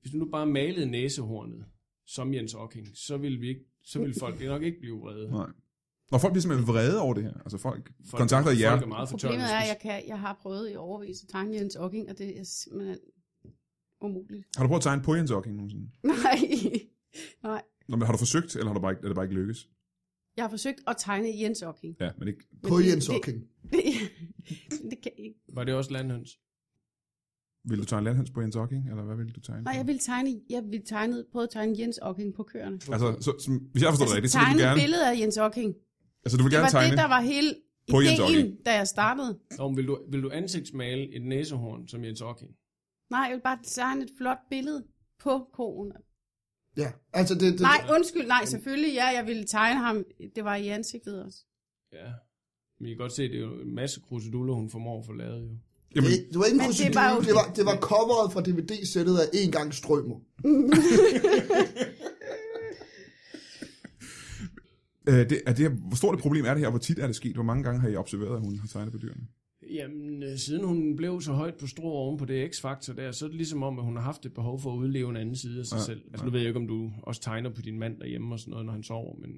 D: hvis du nu bare malede næsehornet, som Jens Ocking, så vil vi ikke så vil folk nok ikke blive vrede.
A: Nej. Og folk bliver simpelthen vrede over det her. Altså folk, folk kontakter jer.
D: Folk er meget fortørnet.
B: Problemet er, at jeg, kan, jeg har prøvet i overvis at tegne Jens Ocking, og det er simpelthen umuligt.
A: Har du prøvet at tegne på Jens Ocking nogensinde?
B: Nej.
A: Nå, men har du forsøgt, eller har du bare ikke, er det bare ikke lykkes?
B: Jeg har forsøgt at tegne Jens Ocking.
A: Ja, men ikke.
B: Men
C: På
B: det-
C: Jens
B: det-
C: Hocking.
B: Det, det kan jeg ikke.
D: Var det også landhøns?
A: Vil du tegne landhøns på Jens Ocking, eller hvad vil du tegne?
B: Nej,
A: på?
B: jeg ville tegne, jeg ville tegne, prøve at tegne Jens Ocking på køerne. Altså,
A: Altså, så, som, hvis jeg forstår det rigtigt, så vil
B: tegne
A: du
B: et
A: gerne,
B: billede af Jens Ocking.
A: altså, du vil
B: Det
A: gerne
B: var
A: tegne.
B: det, der var hele
A: På Jens Ocking.
B: ideen, da jeg startede.
D: Nå, men vil du, vil du ansigtsmale et næsehorn, som Jens Ocking?
B: Nej, jeg ville bare tegne et flot billede på koen.
C: Ja, altså det... det
B: Nej, undskyld, nej, selvfølgelig, ja, jeg ville tegne ham. Det var i ansigtet også.
D: Ja. Men I kan godt se, det er jo en masse kruseduller, hun formår at få lavet jo.
A: Jamen,
C: det, det var ikke en
B: Men det
C: procedure,
B: var
C: det var,
B: jo-
C: det var, det var coveret fra DVD-sættet af En gang strømmer.
A: øh, det, er det, her- hvor stort et problem er det her? Hvor tit er det sket? Hvor mange gange har I observeret, at hun har tegnet på dyrene?
D: Jamen, øh, siden hun blev så højt på strå oven på det X-faktor der, så er det ligesom om, at hun har haft et behov for at udleve en anden side af sig
A: Ja,
D: ja, selv. Altså, nu ved jeg ikke, om du også tegner på din mand derhjemme og sådan noget, når han sover, men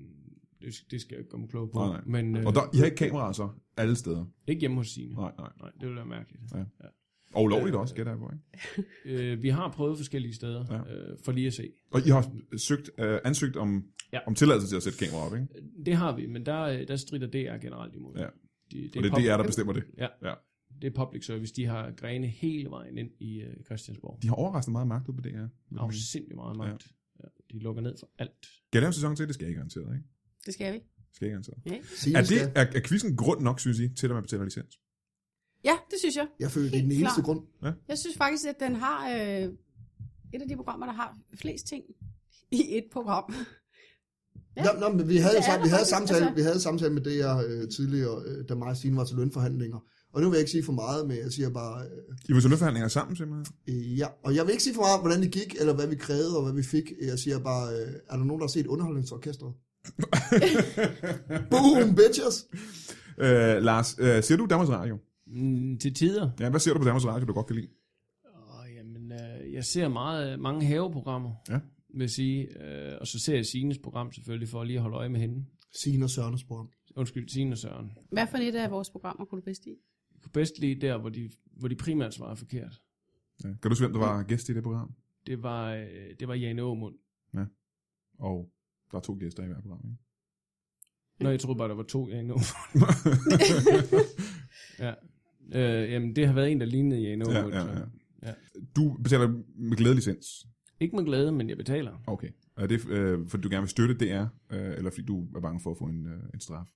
D: det, det skal jeg ikke komme klog på.
A: Nej, nej.
D: Men øh,
A: Og der, I har ikke kameraer så? Alle steder?
D: ikke hjemme hos Signe.
A: Nej, nej.
D: Nej, det ville være mærkeligt.
A: Og ulovligt også, gætter jeg på, ikke?
D: Øh, vi har prøvet forskellige steder,
A: Ja.
D: ja. øh, for lige at se.
A: Og I har søgt, øh, ansøgt om, ja.
D: Ja.
A: om tilladelse til at sætte kameraer op, ikke?
D: Det har vi, men der, øh, der strider DR generelt imod.
A: Ja.
D: De, det
A: Og det er DR, der bestemmer det.
D: det er public service. De har grene hele vejen ind i øh, Christiansborg.
A: De har overraskende meget magt ud på DR.
D: De har sindssygt meget magt. Ja. De lukker ned for alt.
A: Skal jeg lave en sæson til? Det skal jeg ikke garanteret, ikke?
B: Det skal vi.
A: Skal jeg ikke garanteret.
B: Ja,
C: Signe
A: Er, det,
C: skal-
A: er, er quizzen grund nok, synes I, til at man betaler licens?
B: ja det synes jeg.
C: Jeg føler, det er
B: Helt
C: den eneste
B: klart.
C: grund.
B: Jeg synes faktisk, at den har øh, et af de programmer, der har flest ting i et program. Ja.
C: Ja. Nå, nå, men vi
B: Det
C: havde,
B: er
C: jo sam,
B: der
C: vi havde
B: faktisk,
C: samtale,
B: altså.
C: vi havde samtale med det her øh, tidligere, øh, da mig og Signe var til lønforhandlinger. Og nu vil jeg ikke sige for meget, men jeg siger bare, øh,
A: I vil til lønforhandlinger sammen, simpelthen?
C: øh, ja. Og jeg vil ikke sige for meget, hvordan det gik, eller hvad vi krævede, og hvad vi fik. Jeg siger bare, øh, er der nogen, der har set underholdningsorkestret? Boom, bitches!
A: Øh, Lars, øh, ser du Danmarks Radio?
D: Mm, til tider.
A: Ja, hvad ser du på Danmarks Radio, du godt kan lide?
D: Åh, jamen, øh, jeg ser meget, mange haveprogrammer,
A: Ja.
D: vil jeg sige. Øh, og så ser jeg Sines program selvfølgelig, for lige at holde øje med hende.
C: Signe og Sørens program.
D: Undskyld, Sine og Søren.
B: Hvad for et af vores programmer kunne du bedst lide?
D: Jeg kunne bedst lide der, hvor de, hvor de primært svarer forkert.
A: ja. Kan du huske, hvem der var gæst i det program?
D: Det var, øh, det var Jane Aumund.
A: Og der er to gæster i hver program, ikke?
D: Nå, jeg troede bare, der var to Jane Aumund. ja. Øh, jamen, det har været en, der lignede Jane
A: ja,
D: Aumund.
A: ja,
D: så.
A: ja.
D: Ja.
A: Du betaler med glæde licens.
D: Ikke med glæde, men jeg betaler.
A: Okay. Er det, øh, fordi du gerne vil støtte DR, øh, eller fordi du er bange for at få en, øh, en straf?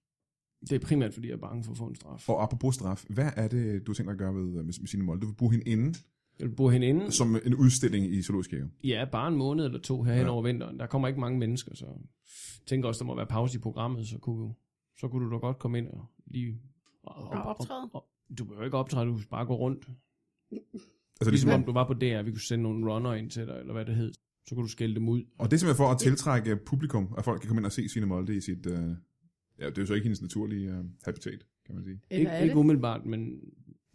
D: Det er primært, fordi jeg er bange for at få en straf.
A: Og apropos straf, hvad er det, du har tænkt dig at gøre ved, øh, med, med sine mål? Du vil bruge hende inde
D: Jeg vil bo hende inde.
A: som en udstilling i Zoologisk Have.
D: Ja, bare en måned eller to her hen
A: Ja.
D: ja. over vinteren. Der kommer ikke mange mennesker, så jeg tænker også, der må være pause i programmet, så kunne, så kunne du da godt komme ind og lige... Og,
B: Og optræde.
D: og- du behøver ikke optræde, du kan bare gå rundt.
A: Altså, det er
D: Ligesom
A: simpelthen,
D: om du var på DR, vi kunne sende nogle runner ind til dig, eller hvad det hed. Så kunne du skælde dem ud.
A: og det er simpelthen for at tiltrække publikum, at folk kan komme ind og se sine Molde i sit... Øh, ja, det er jo så ikke hendes naturlige øh, habitat, kan man sige.
B: Eller
D: Ikke,
B: er
D: ikke
B: det?
D: umiddelbart, men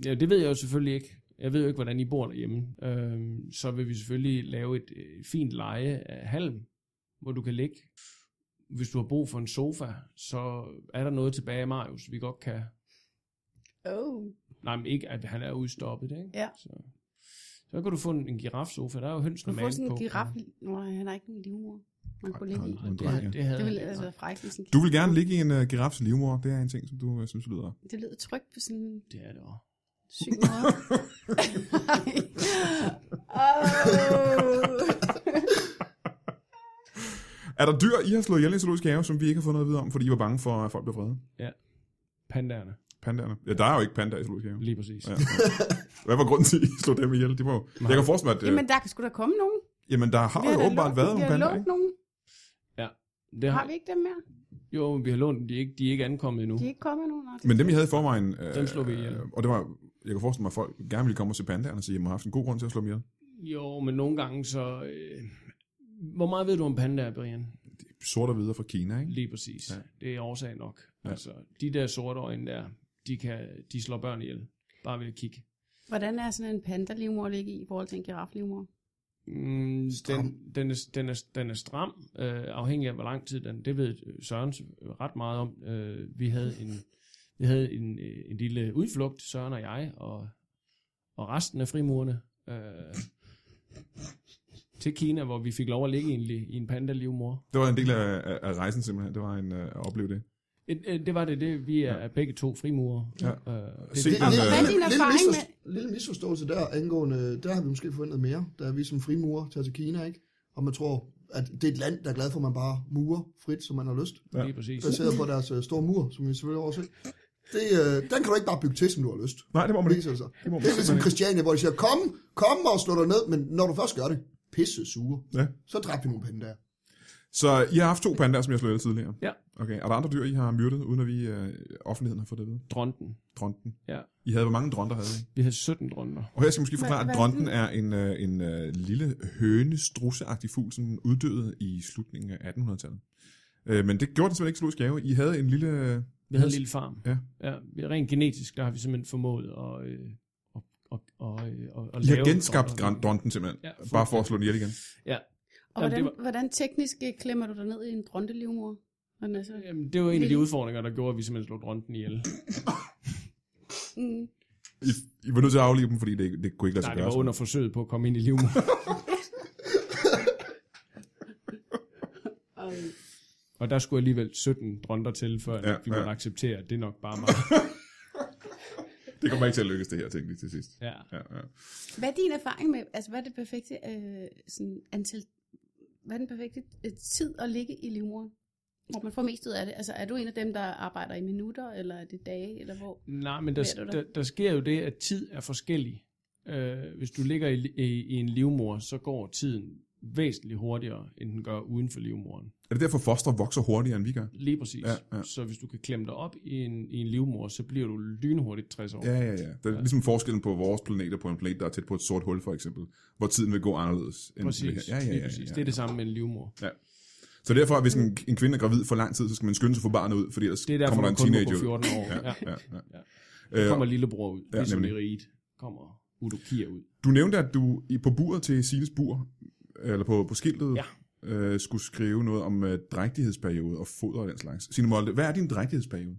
D: ja, det ved jeg jo selvfølgelig ikke. Jeg ved jo ikke, hvordan I bor derhjemme. Øhm, så vil vi selvfølgelig lave et, øh, fint leje af halm, hvor du kan ligge hvis du har brug for en sofa, så er der noget tilbage af Marius, vi godt kan...
B: Oh.
D: Nej, men ikke, at han er udstoppet, ikke?
B: Ja.
D: Så, så kan du få en, en girafsofa, der er jo høns
B: Du
D: med
B: får
D: manden
B: sådan en
D: på.
B: giraf. Nå, nej, han har ikke nogen livmor. Man kunne ligge i.
D: Nej, det,
A: Det
D: havde- det havde
B: Det ville
D: han
B: altså
D: ikke.
B: være frækt. hvis en-
A: Du vil gerne ligge i en uh, girafs livmor. Det er en ting, som du uh, synes lyder.
B: Det lyder trygt på sådan en
D: Det er det også.
B: syg måde. Nej. Åh.
A: Er der dyr, I har slået ihjel i zoologisk have, som vi ikke har fået noget at vide om, fordi I var bange for, at folk blev vrede?
D: Pandaerne,
A: Pandaerne? Ja, der er jo ikke pandaer i zoologisk have.
D: lige præcis.
A: Ja. Hvad var grunden til, at I slog dem ihjel? Det var jo... Jeg kan forestille mig, at... øh,
B: Jamen, der kan sgu da komme nogen.
A: Jamen, der har
B: Vi
A: jo
B: da
A: åbenbart
B: lånt-
A: været
B: vi
A: nogle
B: har
A: pandaer,
B: lånt
A: ikke?
B: nogen.
D: Det
B: Har
D: har,
B: vi ikke dem mere?
D: jo, vi har lånt dem, de er ikke, de er ikke ankommet endnu.
B: De er ikke kommet nogen.
A: Men dem, I havde i forvejen... Øh,
D: Dem slog vi ihjel.
A: øh, Og det var... Jeg kan forestille mig, at folk gerne ville komme og se pandaerne og sige, at man har haft en god grund til at slå dem ihjel.
D: Jo, men nogle gange så... Øh, hvor meget ved du om pandaer, Brian?
A: Sort og hvide fra Kina, ikke?
D: Lige præcis.
A: Ja.
D: Ja. Det er årsag nok.
A: Ja.
D: Ja. Altså, de der sorte øjne der, de, kan, de slår børn ihjel. Bare ved at kigge.
B: Hvordan er sådan en pandalivmor at ligge i i forhold til en giraflivmor?
D: Mm,
C: Stram.
D: den, den, er, den, er, den er stram, øh, afhængig af hvor lang tid den... Det ved Søren ret meget om. Øh, vi havde en, vi havde en, øh, en lille udflugt, Søren og jeg, og, og resten af frimurerne, øh, til Kina, hvor vi fik lov at ligge i en, li- i en pandalivmor.
A: Det var en del af, af, af rejsen simpelthen. Det var en, øh, at opleve det.
D: Øh, øh, Det var det, det. Vi er ja. begge to frimurer.
A: Ja.
D: Øh,
A: Se
D: det,
A: den, øh,
B: Hvad er din
C: lille,
B: erfaring
C: misforst- lille misforståelse der angående, der har vi måske forventet mere, da vi som frimurer tager til Kina, ikke? Og man tror, at det er et land, der er glad for, at man bare murer frit, som man har lyst.
A: Ja.
D: lige præcis.
C: Baseret på deres øh, store mur, som vi selvfølgelig har overset. Det, øh, den kan du ikke bare bygge til, som du har lyst.
A: Nej, det må man ikke.
C: Viser det sig.
A: Det må man
C: Det er ligesom
A: simpelthen ikke.
C: Christiania, hvor de siger, kom, kom og slå dig ned, men når du først gør det, pisse sure,
A: Ja.
C: så dræbte vi nogle pinde der.
A: Så I har haft to pandaer, som jeg slog ihjel tidligere?
D: Ja.
A: Okay, er der andre dyr, I har myrdet, uden at vi øh, offentligheden har fået det at vide?
D: Dronten.
A: Dronten.
D: Ja.
A: I havde, hvor mange dronter havde I?
D: Vi havde 17 dronter.
A: Og her skal jeg måske forklare,
B: Hvad-
A: at
B: hvad er
A: dronten er en, øh, en øh, lille høne strusseagtig fugl, som uddøde i slutningen af 1800-tallet. Øh, men det gjorde den simpelthen ikke i zoologisk have. I havde en lille... Øh,
D: Vi havde en lille farm.
A: Ja.
D: ja vi er rent genetisk, der har vi simpelthen formået at, øh, at, at, at, øh, at, at
A: I har
D: lave
A: genskabt
D: dronter.
A: dron- dronten simpelthen.
D: Ja,
A: Ja,
D: fuldstændig.
A: bare for at slå den ihjel igen.
B: Og
D: Jamen,
B: hvordan,
D: det
B: hvordan teknisk øh, klemmer du dig ned i en drontelivmor? Hvordan er så?
D: Jamen, det var en af de udfordringer, der gjorde, at vi simpelthen slog dronten ihjel.
B: Mm.
A: I, I var nødt til at aflive dem, fordi det, det kunne ikke lade sig
D: Nej, det var
A: gøre.
D: under forsøget på at komme ind i livmor.
B: Og, øh,
D: Og der skulle alligevel 17 dronter til, før
A: Ja,
D: ja, vi måtte
A: ja.
D: acceptere, at det er nok bare mig.
A: Det kommer ikke til at lykkes, det her, tænkte jeg til sidst.
D: Ja.
A: Ja, ja.
B: hvad er din erfaring med, altså hvad er det perfekte øh, sådan antal, hvad er den perfekte øh, tid at ligge i livmoren? Hvor man får mest ud af det. Altså er du en af dem, der arbejder i minutter, eller er det dage, eller hvor?
D: Nej, men der,
B: Ved du det?
D: der, der sker jo det, at tid er forskellig. Øh, hvis du ligger i, i, i en livmor, så går tiden væsentligt hurtigere, end den gør uden for livmoren.
A: Er det derfor, foster vokser hurtigere, end vi gør?
D: Lige præcis.
A: Ja, ja.
D: Så hvis du kan klemme dig op i en, i en livmor, så bliver du lynhurtigt 60 år.
A: Ja, ja, ja. Det er ja. ligesom forskellen på vores planet og på en planet, der er tæt på et sort hul, for eksempel, hvor tiden vil gå anderledes. End
D: præcis.
A: ved her. Ja, ja,
D: lige
A: ja,
D: præcis.
A: ja,
D: Det er det samme med en livmor.
A: Så derfor, at hvis en, en kvinde er gravid for lang tid, så skal man skynde sig for barnet ud, fordi ellers
D: Det er derfor,
A: kommer der
D: man
A: en
D: kun må gå
A: teenager ud.
D: 14 år.
A: Ja,
D: ja.
A: ja, ja.
D: Ja.
A: Øh,
D: Kommer lillebror ud,
A: Ja,
D: ja, ligesom i
A: nemlig.
D: riget. Kommer udokier ud.
A: du nævnte, at du i- på buret til Siles bur, eller på, på skiltet,
D: Ja.
A: øh, skulle skrive noget om øh, drægtighedsperiode og foder og den slags. Signe Molde, hvad er din drægtighedsperiode?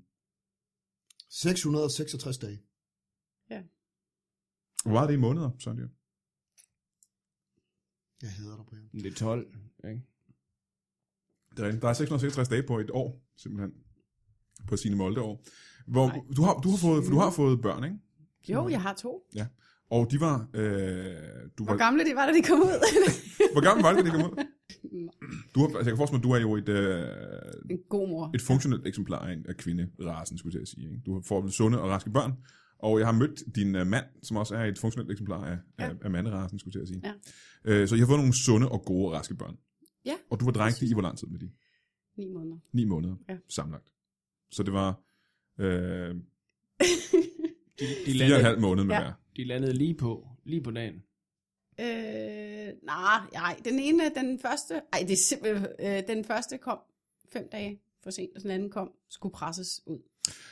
C: 666 dage.
A: Hvor var det i måneder, Sonja?
C: Jeg hader dig, Brian.
D: Det er 12, ikke?
A: Det er rigtigt. Der er 666 dage på et år, simpelthen. På Signe Molde år. Hvor,
B: Nej.
A: du, har, du, har fået, for du har fået børn, ikke?
B: Jo, jeg har to.
A: Og de var... Øh, du var
B: Hvor gamle de var, da de kom ud?
A: hvor gammel var det, da de kom ud? Du har, altså, jeg kan forestille mig, at du er jo et, øh,
B: en god mor.
A: et funktionelt eksemplar af, en- af kvinderasen, skulle jeg til at sige. Ikke? Du får vel sunde og raske børn, og jeg har mødt din uh, mand, som også er et funktionelt eksemplar af, ja.
B: Ja.
A: af, af manderasen, skulle jeg til at sige.
B: Ja.
A: Øh, så jeg har fået nogle sunde og gode og raske børn.
B: Ja.
A: Og du var drægtig i hvor lang tid med de?
B: Ni måneder.
A: Ni måneder
B: Ja.
A: sammenlagt. Så det var øh,
D: De, de,
A: fire og en
D: landede,
A: halv måned med
B: Ja.
A: hver.
D: de landede lige på, lige på dagen.
B: Øh, nej, nej, den ene, den første, ej, det er simpelthen, øh, den første kom fem dage for sent, og den anden kom, skulle presses ud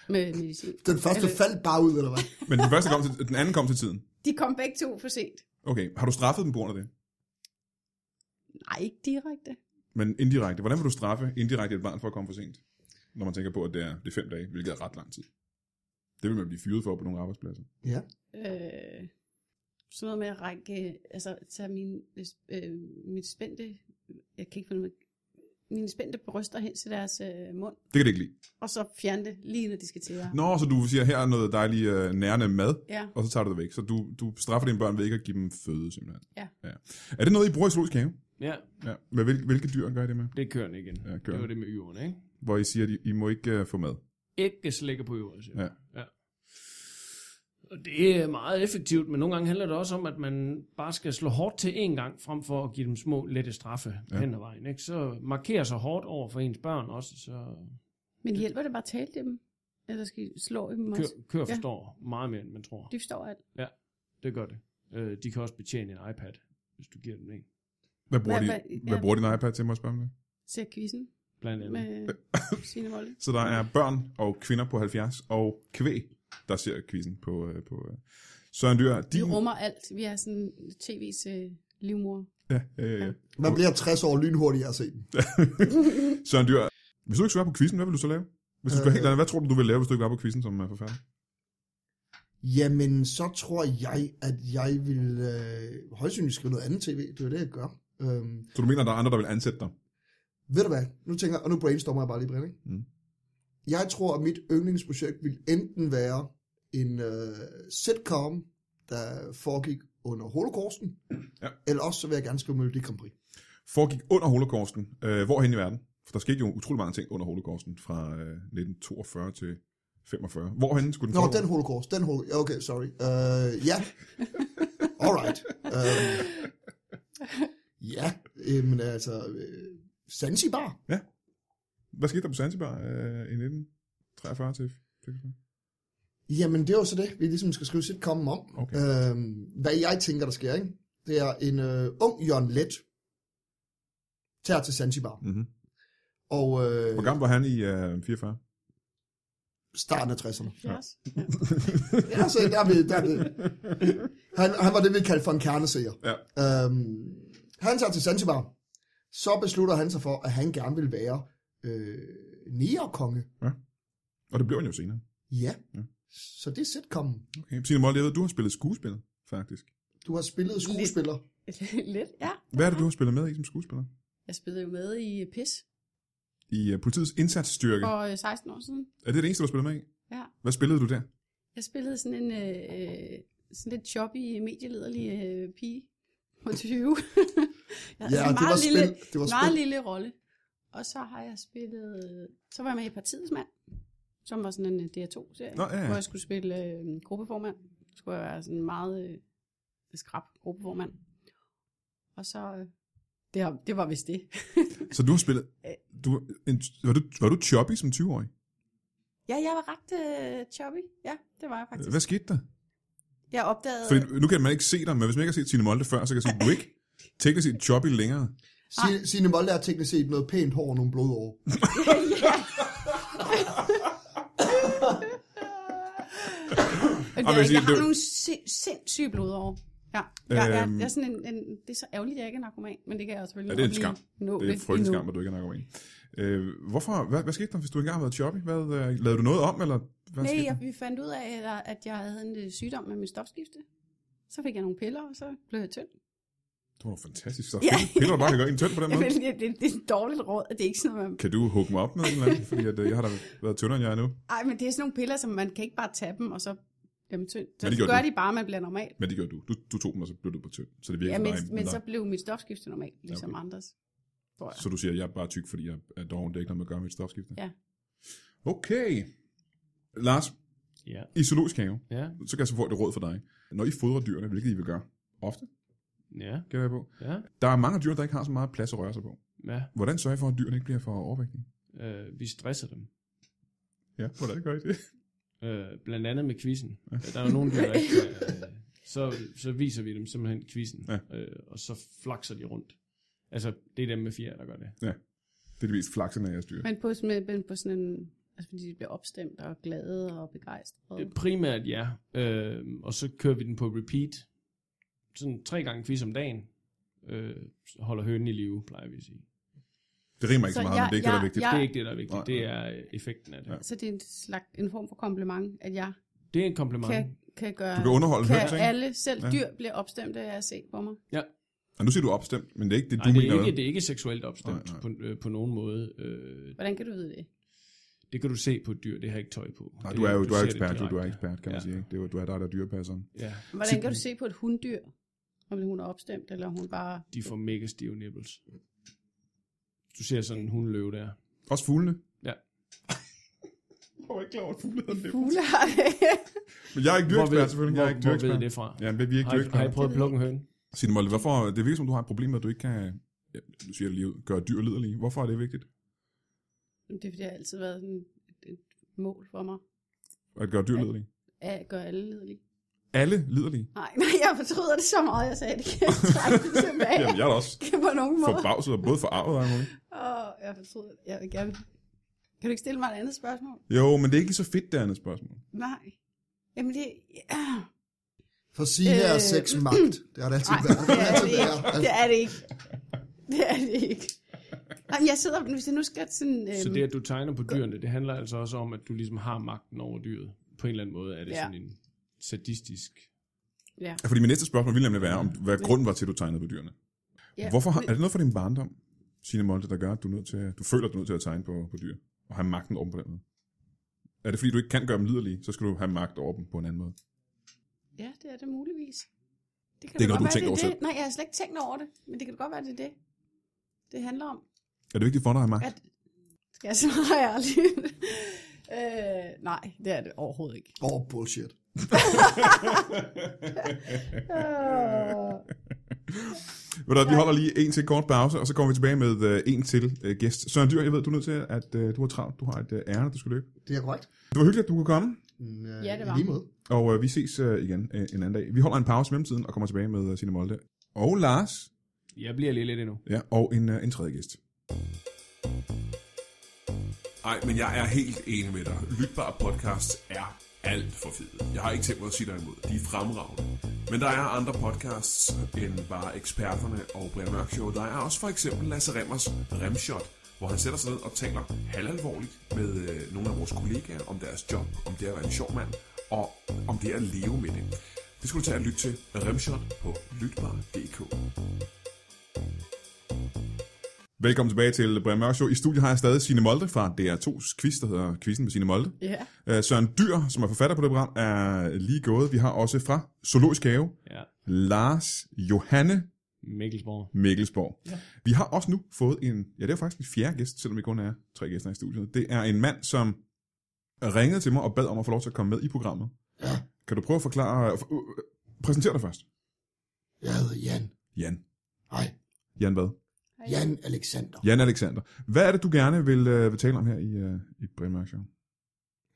B: med medicin.
C: Den første
B: Eller-
C: faldt bare ud, eller hvad?
A: Men den, første kom til, den anden kom til tiden.
B: De kom begge to for sent.
A: Okay, har du straffet dem på grund af det?
B: Nej, ikke direkte.
A: Men indirekte, hvordan vil du straffe indirekte et barn for at komme for sent? Når man tænker på, at det er, det er fem dage, hvilket er ret lang tid. Det vil man blive fyret for på nogle arbejdspladser.
C: Ja.
B: Øh, sådan noget med at række, altså tage min, øh, mit spændte, jeg kan ikke finde ud af- mine spændte bryster hen til deres øh, mund,
A: Det kan det ikke lide.
B: og så fjerne det lige når de skal til at...
A: Nå, så du siger, her er noget dejlig øh, nærende mad,
B: Ja,
A: og så tager du det væk. Så du, du straffer dine børn ved ikke at give dem føde, simpelthen.
B: Ja.
A: ja. Er det noget, I bruger i zoologisk have?
D: Ja,
A: Ja. Med hvil, hvilke dyr gør I det med?
D: det kører den igen.
A: Ja, kører
D: det var
A: den.
D: det med yverne, ikke?
A: Hvor I siger, at I, I må ikke øh, få mad.
D: Ikke slikker på jorden, siger
A: Ja.
D: man. ja. Og det er meget effektivt, men nogle gange handler det også om, at man bare skal slå hårdt til en gang, frem for at give dem små, lette straffe
A: Ja.
D: ja. hen ad vejen. Ikke? Så markere sig hårdt over for ens børn også, så
B: men hjælper det bare at tale til dem? Eller skal I slå i dem også?
D: kør, kør
B: Ja.
D: forstår meget mere, end man tror.
B: De forstår alt.
D: Det gør det. Øh, de kan også betjene en iPad, hvis du giver dem en.
A: Hvad bruger,
B: Hvad-
A: hvad, de,
B: hvad-
A: hvad
B: ja.
A: bruger din iPad til, må jeg spørge om det?
B: Ser quizzen
D: Blandt andet.
B: med sine Molde.
A: Så der er børn og kvinder på 70, og kvæg, der ser quizzen på, øh, på øh. Søren Dyr.
B: Vi
A: Din,
B: rummer alt. Vi er sådan tv's øh, livmor.
A: ja, øh, ja.
C: Man bliver 60 år lynhurtigt af at se den.
A: Søren Dyr, hvis du ikke skulle være på quizzen, hvad vil du så lave? Hvis du skal være
B: Øh.
A: helt ærlig, hvad tror du, du vil lave, hvis du ikke var på quizzen som øh, forfatter?
C: Jamen, så tror jeg, at jeg vil øh, højst sandsynligt skrive noget andet tv. Det er jo det, jeg gør. Øhm,
A: Så du mener, der er andre, der vil ansætte dig?
C: ved du hvad? Nu tænker jeg, og nu brainstormer jeg bare lige, Brinding.
A: Mm.
C: Jeg tror, at mit yndlingsprojekt vil enten være en øh, sitcom, der foregik under holocausten,
A: Ja.
C: eller også så vil jeg gerne skrive Melodi Grand Prix.
A: Foregik under holocausten. Øh, hvorhen i verden? For der skete jo utrolig mange ting under holocausten fra øh, 1942 til 45. Hvorhen skulle den
C: Nå,
A: foregå?
C: den holocaust, den holocaust. Okay, sorry. Øh, ja. Alright. Øh, ja, men altså, øh, Zanzibar.
A: Hvad skete der på Zanzibar øh, i 1943 til 45?
C: Jamen, det er jo så det, vi ligesom skal skrive sitcomen om.
A: Okay.
C: Øhm, hvad jeg tænker, der sker, ikke? Det er en øh, ung Jørgen Let, tager til Zanzibar.
B: Øh.
A: Mm-hmm.
C: Og øh,
A: Hvor gammel var han i øh, 44?
C: starten af 60'erne.
B: Ja.
C: Ja, så der er vi, der er vi. Han, han var det, vi kaldte for en kerneseer.
A: Ja.
C: Øhm, han tager til Zanzibar. Så beslutter han sig for, at han gerne vil være øh, negerkonge.
A: Og det blev han jo senere.
C: Ja.
A: Ja.
C: Så det er sitcomen.
A: Okay. Signe Molde, jeg ved, du har spillet skuespil, faktisk.
C: Du har spillet skuespiller.
B: Lidt, ja.
A: Hvad er det, du har spillet med i som skuespiller?
B: Jeg spillede jo med i øh, PIS
A: I uh, politiets indsatsstyrke.
B: for øh, 16 år siden.
A: Er det det eneste, du har spillet med i?
B: Ja.
A: Hvad spillede du der?
B: Jeg spillede sådan en øh, øh, sådan lidt choppy, medielederlig øh, pige på 20. jeg havde sådan en altså
C: det var
B: meget lille,
C: spil. Det var
B: meget
C: spil.
B: lille rolle. Og så har jeg spillet, øh, så var jeg med i Partiets mand, som var sådan en øh, DR2-serie,
A: Nå, ja, ja.
B: hvor jeg skulle spille øh, gruppeformand. Så skulle jeg være sådan en meget øh, skrab gruppeformand. Og så, øh, det, har, det var vist det.
A: Så du har spillet... Du, en, var, du, var du choppy som 20-årig?
B: ja, jeg var ret øh, choppy. Ja, det var jeg faktisk.
A: Hvad skete der?
B: Jeg opdagede...
A: Fordi nu kan man ikke se dig, men hvis man ikke har set Signe Molde før, så kan jeg sige, du er ikke teknisk set choppy længere.
C: Si-
B: Ah.
C: Signe Molde har teknisk set noget pænt hår og nogle blodår.
B: Og
A: Og
B: det,
A: man
B: jeg,
A: siger,
B: jeg har
A: det-
B: nogle sin, sindssyge blodår. Ja, jeg, jeg,
A: Øhm.
B: jeg er sådan en, en, det er så ærgerligt, at jeg ikke er narkoman, men det kan jeg jo selvfølgelig
A: Ja, det er
B: nok
A: en skam.
B: lige Nå
A: Det er
B: lidt
A: frygtelig
B: endnu.
A: skam, at du ikke er narkoman. Øh, hvorfor? Hvad, hvad skete der, hvis du ikke engang har været choppy? Hvad, øh, lavede du noget om, eller hvad
B: Nej,
A: skete
B: jeg,
A: der?
B: vi fandt ud af, at jeg- at jeg havde en øh, sygdom med min stofskifte. Så fik jeg nogle piller, og så blev jeg tynd.
A: Det var fantastisk. Så
B: Ja.
A: piller du bare kan gøre en tynd på den
B: Jeg
A: måde.
B: ved, det, det, det er et dårligt råd, og det er ikke sådan noget, man...
A: Kan du hugge mig op med en eller anden? Fordi at, øh, jeg har da været tyndere, end jeg er nu.
B: Ej, men det er sådan nogle piller, som man kan ikke bare tage dem, og så bliver man tynd. Så
A: Men det
B: gør
A: gjorde du.
B: de bare, at man bliver normal.
A: Men det gjorde du. Du, du tog dem, og så blev du på tynd. Så det virker
B: Ja,
A: som
B: men,
A: dig, men,
B: men
A: dig.
B: så blev mit stofskifte normal, ligesom
A: okay.
B: andres. Tror jeg.
A: Så du siger, at jeg er bare tyk, fordi jeg er doven. Det er ikke noget med at gøre med et stofskifte?
B: Ja.
A: Okay. Lars,
D: Ja.
A: i zoologisk have,
D: Ja,
A: så kan jeg så få et råd for dig. Når I fodrer dyrene, hvilket I vil gøre ofte,
D: ja,
A: gætter jeg på,
D: ja.
A: der er mange dyr, der ikke har så meget plads at røre sig på.
D: ja.
A: Hvordan sørger I for, at dyrene ikke bliver for overvægtige?
D: Øh, vi stresser dem.
A: Ja, hvordan gør I det?
D: Øh, blandt andet med quizzen. Der er jo nogen, der ikke... Øh, så, så viser vi dem simpelthen quizzen,
A: Ja.
D: øh, og så flakser de rundt. Altså, det er dem med fjer, der gør det.
A: Det er det mest flaksende af jeres dyr.
B: Men på, med, men på sådan en... Altså, fordi de bliver opstemt og glade og begejstrede.
D: Øh, Primært ja, øh, og så kører vi den på repeat. Sådan tre gange quiz om dagen. Øh, holder hønen i live, plejer vi at sige.
A: Det rimer ikke så, så
B: Så
A: meget, men
B: jeg-
A: det er ikke det, der er
B: jeg-
A: vigtigt.
D: Det
B: jeg-
D: er ikke det, der er vigtigt.
A: Nej.
D: Det er øh, effekten af det.
A: Ja.
D: Ja.
B: Så det er en, slags, en form for kompliment, at jeg
D: Det er en kompliment.
B: kan, kan gøre...
A: Du kan underholde
B: kan
A: høns, ikke?
B: alle, selv
A: Ja.
B: dyr, bliver opstemt af at se på mig?
A: Og nu siger du opstemt, men det er ikke det,
D: Nej,
A: du
D: det
A: mener.
D: er, ikke,
A: vel?
D: det er ikke seksuelt opstemt
A: Nej, nej.
D: På, øh, på nogen måde. Øh,
B: Hvordan kan du vide det?
D: det kan du se på et dyr, det har ikke tøj på.
A: Nej,
D: Det-
A: du er jo du er
D: ser
A: jo
D: det
A: ekspert, du, du er
D: direkte.
A: ekspert, kan man
D: Ja.
A: sige. Ikke? Det er, jo- du er der, der er dyrepasseren.
D: Ja,
B: Hvordan kan du se på et hunddyr, om hun er opstemt, eller hun bare...
D: de får mega stive nipples. Du ser sådan en hundløve der.
A: Også fuglene.
D: Ja.
A: Jeg var ikke klar over, at fugle havde
B: Fugle har det.
A: Men jeg er ikke dyreekspert, selvfølgelig.
D: hvor,
A: Jeg er ikke
D: hvor ved I
A: dyreekspert.
D: det fra?
A: Ja, men vi er ikke
D: har, I, har I
A: dyreekspert.
D: prøvet at plukke en høne?
A: Signe Molde, hvorfor, det virker som, du har et problem med, at du ikke kan ja, nu siger jeg det lige ud, gøre dyr liderlige. Hvorfor er det vigtigt?
B: det er fordi, det har altid været sådan et, et mål for mig,
A: At gøre dyr liderlige?
B: at gøre alle ledelige.
A: Alle liderlige?
B: Nej, nej, jeg fortryder det så meget, jeg sagde det. Kan jeg trække det tilbage
A: Jamen, jeg er da også
B: på nogen måde?
A: forbavset og både forarvet og alt muligt.
B: Åh, jeg fortryder det. Jeg vil gerne... Kan du ikke stille mig et andet spørgsmål?
A: Jo, men det er ikke så fedt, det andet spørgsmål.
B: Nej. Jamen det... Ja.
C: For Signe er
B: Øh,
C: sex magt. Det har det altid
B: Nej,
C: været. Det
B: det
C: har
B: er det
C: altid
B: ikke.
C: været.
B: Det er det ikke. Det er det ikke. Nej, jeg sidder... Hvis jeg nu skal sådan... Øhm,
D: Så det, at du tegner på dyrene, det handler altså også om, at du ligesom har magten over dyret. På en eller anden måde er det
B: Ja.
D: sådan en sadistisk...
B: Ja.
A: Ja, Fordi min næste spørgsmål ville nemlig være, om, hvad grunden var til, at du tegnede på dyrene.
B: ja.
A: Hvorfor har, er det noget fra din barndom, Signe Molde, der gør, at du, er nødt til, at- du føler, at du er nødt til at tegne på, på dyr? Og have magten over dem på den måde? Er det fordi, du ikke kan gøre dem liderlige, så skal du have magt over dem på en anden måde?
B: Ja, det er det muligvis. Det, kan
A: Det er
B: da
A: noget,
B: godt
A: du
B: være,
A: tænker
B: det er
A: over
B: det. Nej, jeg har slet ikke tænkt over det, men det kan da godt være, det er det. Det handler om,
A: Er det vigtigt for dig at have magt?
B: at... Skal jeg svare ærligt? øh, nej, det er det overhovedet ikke.
C: Åh, oh, bullshit.
B: Øh,
A: Ved du, hvad, vi holder lige en til kort pause, og så kommer vi tilbage med øh, en til øh, gæst. Søren Dyr, jeg ved, du er nødt til, at øh, du har travlt. Du har et øh, ærne, du skal løbe.
C: Det er korrekt.
A: Det var hyggeligt, at du kunne komme,
C: Mm, øh,
B: Ja, det var.
C: I lige måde.
A: og øh, vi ses øh, igen øh, en anden dag. Vi holder en pause i mellemtiden og kommer tilbage med øh, Signe Molde. Og Lars.
D: Jeg bliver lige lidt endnu.
A: Ja, og en, øh, en tredje gæst. Nej, men jeg er helt enig med dig. Lytbare podcasts er alt for fede. Jeg har ikke tænkt mig at sige dig imod. De er fremragende. Men der er andre podcasts end bare eksperterne og Brian Mørk Show. Der er også for eksempel Lasse Remmers Remshot, hvor han sætter sig ned og taler halvalvorligt med øh, nogle af vores kollegaer om deres job, om det at være en sjov mand, og om det at leve med det. Det skulle du tage at lytte til Remshot på lytbar.dk. Velkommen tilbage til Brian Mørk Show. I studiet har jeg stadig Signe Molde fra DR2's quiz, der hedder Quizzen med Signe Molde.
B: ja,
A: Øh, Søren Dyr, som er forfatter på det program, er lige gået. Vi har også fra Zoologisk Have,
D: Ja.
A: Lars Johanne
D: Mikkelsborg.
A: Mikkelsborg. Ja. Vi har også nu fået en, ja det er faktisk en fjerde gæst, selvom vi kun er tre gæster i studiet. Det er en mand, som ringede til mig og bad om at få lov til at komme med i programmet.
C: Ja.
A: Kan du prøve at forklare, øh, øh, præsentere dig først.
C: Jeg hedder Jan.
A: Jan.
C: Hej.
A: Jan hvad?
C: Jan Alexander.
A: Jan Alexander. Hvad er det, du gerne vil, øh, vil tale om her i, øh, i Brian Mørk Show?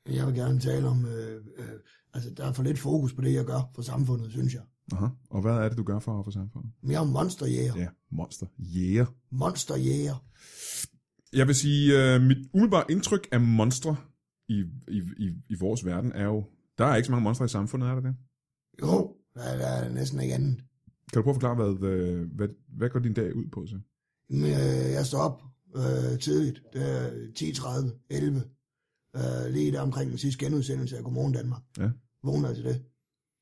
C: Jeg vil gerne tale om, øh, øh, altså der er for lidt fokus på det, jeg gør for samfundet, synes jeg.
A: Aha. Og hvad er det, du gør for, for samfundet?
C: Men jeg er monsterjæger.
A: Ja, monster. Jæger. Yeah.
C: Monsterjæger.
A: Jeg vil sige, øh, mit umiddelbare indtryk af monstre i, i, i, i vores verden er jo, der er ikke så mange monstre i samfundet, er der det?
C: Jo, der er, der er næsten ikke andet.
A: Kan du prøve at forklare, hvad, øh, hvad, hvad går din dag ud på så?
C: Men, øh, jeg står op øh, tidligt. Det er 10.30, 11. Øh, lige der omkring den sidste genudsendelse af Godmorgen Danmark.
A: Ja.
C: Vågner til det.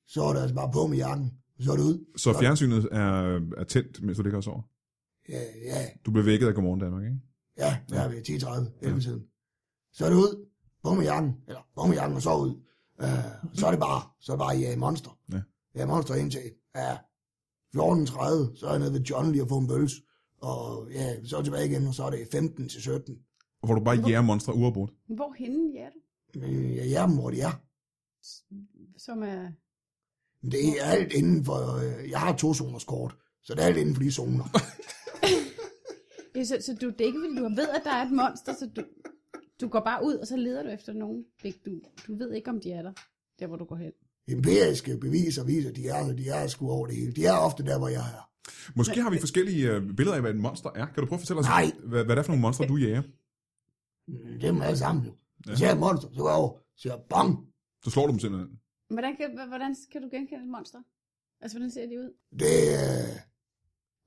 C: Så er det altså bare på med jakken. Så er det ud.
A: Så fjernsynet er, er tændt, mens du ligger og sover.
C: Ja, ja,
A: Du bliver vækket af Godmorgen Danmark, ikke?
C: ja. Der er vi 10.30, 11 tiden. Så er det ud. På med jakken. Eller på med jakken og så ud. Øh, så er det bare. Så er det bare, ja, monster.
A: Ja.
C: Ja, monster indtil. Ja. 14.30, så er jeg nede ved John lige at få en bøls. Og ja, så er jeg tilbage igen, og så er det 15 til 17.
A: Og hvor du bare jæger monstre uafbrudt.
B: hvor henne er du?
C: Men jeg er dem, hvor de er.
B: Som er...
C: Men Det er alt inden for... Øh, jeg har to zoners kort, så det er alt inden for de zoner.
B: Ja, så, så du, det er ikke, fordi du ved, at der er et monster, så du, du går bare ud, og så leder du efter nogen. Det- Du, du ved ikke, om de er der, der hvor du går hen.
C: Empiriske beviser viser, at de er, de er sgu over det hele. De er ofte der, hvor jeg er.
A: Måske har vi forskellige øh, billeder af, hvad et monster er. Kan du prøve at fortælle os,
C: Nej.
A: hvad, hvad det er for nogle monstre, du jæger?
C: Mm, Dem er alle sammen jo. Så jeg et monster, så går jeg over, så jeg bang.
A: Så slår du dem simpelthen.
B: Hvordan kan, hva- hvordan kan du genkende et monster? Altså, hvordan ser de ud?
C: Det er...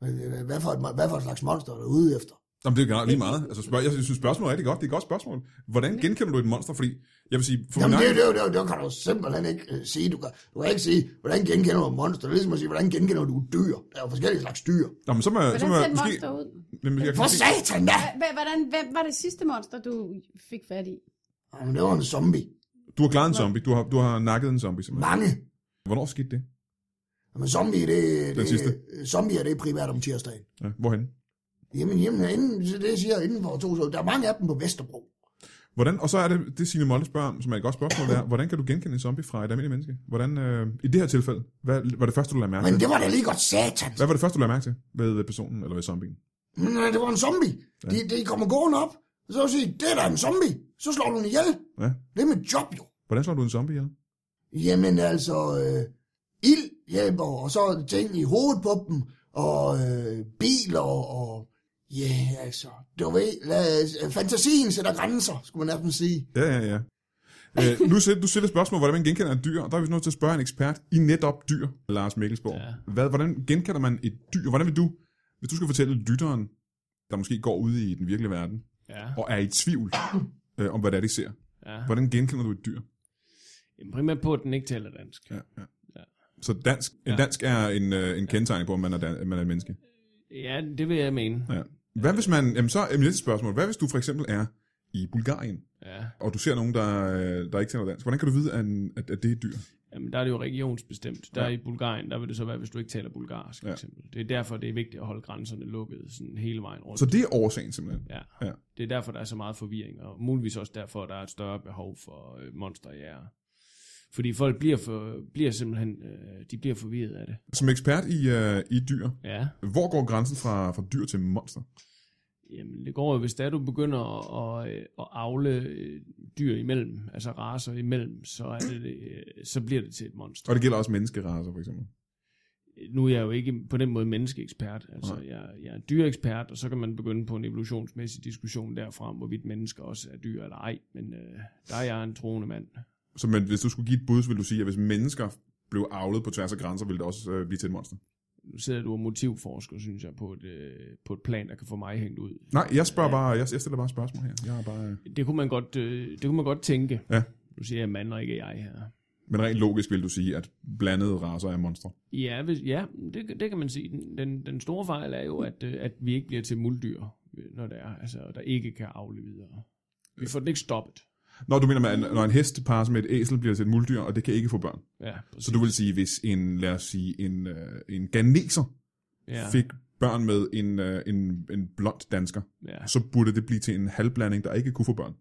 C: Øh, hvad, for et, mon- hvad for et slags monster er du ude efter?
A: Jamen, det er jo generelt lige meget. Altså, spørg, jeg synes, spørgsmålet er rigtig godt. Det er et godt spørgsmål. Hvordan genkender du et monster? Fordi, jeg vil sige, for
C: Jamen,
A: min
C: det,
A: egen-
C: det, det, det, kan du simpelthen ikke øh, sige. Du kan, du kan ikke sige, hvordan genkender du et monster. Det er ligesom at sige, hvordan genkender du et dyr. Der er jo forskellige slags dyr.
A: Nå, men så må, jeg- så
B: Hvordan
A: må
B: ser
A: jeg
B: et
A: måske...
B: monster ud?
A: Jamen, jeg kan
C: For
A: se-
C: satan da!
B: Hva- Hvordan, hvem var det sidste monster, du fik fat i?
C: Jamen, det var en zombie.
A: Du har klaret en zombie. Du har, du har nakket en zombie, simpelthen.
C: Mange.
A: Hvornår skete det?
C: Men zombie, det,
A: Den
C: det,
A: sidste.
C: zombie er det primært om tirsdagen.
A: Ja, hvorhen?
C: Jamen, jamen inden, så det siger jeg inden for to så Der er mange af dem på Vesterbro.
A: Hvordan, og så er det, det Signe Molde spørger om, som er et godt spørgsmål, der. hvordan kan du genkende en zombie fra et almindeligt menneske? Hvordan, øh, I det her tilfælde, hvad var det første, du lagde mærke
C: Men
A: til?
C: det var da lige godt satan.
A: Hvad var det første, du lagde mærke til ved personen, eller ved zombien?
C: Men øh, det var en zombie. De, de kommer gående op. Så vil jeg sige, det er da en zombie. Så slår du den ihjel.
A: Ja.
C: Det er mit job jo.
A: Hvordan slår du en zombie ihjel?
C: Jamen altså, øh, ild hjælper, og så ting i hovedet på dem, og øh, biler, og ja, yeah, altså, du ved, lad, fantasien sætter grænser, skulle man nærmest sige.
A: Ja, ja, ja. Øh, nu sætter, du stiller spørgsmål, hvordan man genkender et dyr, og der er vi nødt til at spørge en ekspert i netop dyr, Lars Mikkelsborg. Ja. Hvad, hvordan genkender man et dyr? Hvordan vil du, hvis du skal fortælle lytteren, der måske går ude i den virkelige verden,
D: Ja,
A: og er i tvivl øh, om, hvad det er, de ser.
D: ja.
A: Hvordan genkender du et dyr?
D: Jamen, primært på, at den ikke taler dansk.
A: Ja, ja. Så dansk, en
D: Ja.
A: dansk er en, øh, en kendetegn på, om man er, dan- man er et menneske.
D: Ja, det vil jeg mene.
A: Ja. Hvad hvis man, jamen så er mit næste spørgsmål, hvad hvis du for eksempel er i Bulgarien,
D: Ja.
A: og du ser nogen, der, øh, der ikke taler dansk, hvordan kan du vide, at, at, at det er et dyr?
D: Jamen, der er det jo regionsbestemt. Der
A: Ja.
D: ja. i Bulgarien, der vil det så være, hvis du ikke taler bulgarsk, for
A: Ja.
D: eksempel. Det er derfor, det er vigtigt at holde grænserne lukkede sådan hele vejen rundt.
A: Så det er årsagen simpelthen.
D: Ja.
A: Ja.
D: ja. Det er derfor, der er så meget forvirring, og muligvis også derfor, der er et større behov for øh, monsterjæger. Fordi folk bliver, for, bliver simpelthen, øh, de bliver forvirret af det.
A: Som ekspert i, øh, i dyr,
D: Ja.
A: hvor går grænsen fra, fra dyr til monster?
D: Jamen, det går jo, hvis det er, du begynder at, at, øh, at avle øh, dyr imellem, altså raser imellem, så, er det, øh, så bliver det til et monster.
A: Og det gælder også menneskeraser for eksempel.
D: Nu er jeg jo ikke på den måde menneskeekspert, altså
A: Nej.
D: jeg, jeg er dyreekspert, og så kan man begynde på en evolutionsmæssig diskussion derfra, om hvorvidt mennesker også er dyr eller ej, men øh, der er jeg en troende mand.
A: Så men, hvis du skulle give et bud, så ville du sige, at hvis mennesker blev avlet på tværs af grænser, ville det også øh, blive til et monster.
D: Nu sidder du og motivforsker, synes jeg, på et, øh, på et plan, der kan få mig hængt ud.
A: Nej, jeg spørger bare, jeg, jeg stiller bare spørgsmål her. Jeg er bare, øh,
D: Det kunne man godt, øh, det kunne man godt tænke.
A: Ja.
D: Nu siger jeg mand og ikke jeg her.
A: men rent logisk vil du sige, at blandede raser er monstre.
D: Ja, hvis, ja det, det kan man sige. Den- Den, den store fejl er jo, at, øh, at vi ikke bliver til muldyr, øh, når det er, altså, der ikke kan afle videre. Vi får den ikke stoppet.
A: Når du mener, man, når en hest parer sig med et æsel, bliver det til et muldyr, og det kan ikke få børn.
D: Ja,
A: Så du vil sige, hvis en, lad os sige, en, øh, en ganeser ja.
D: ja,
A: fik børn med en, øh, en, en blond dansker,
D: ja.
A: så burde det blive til en halvblanding, der ikke kunne få børn.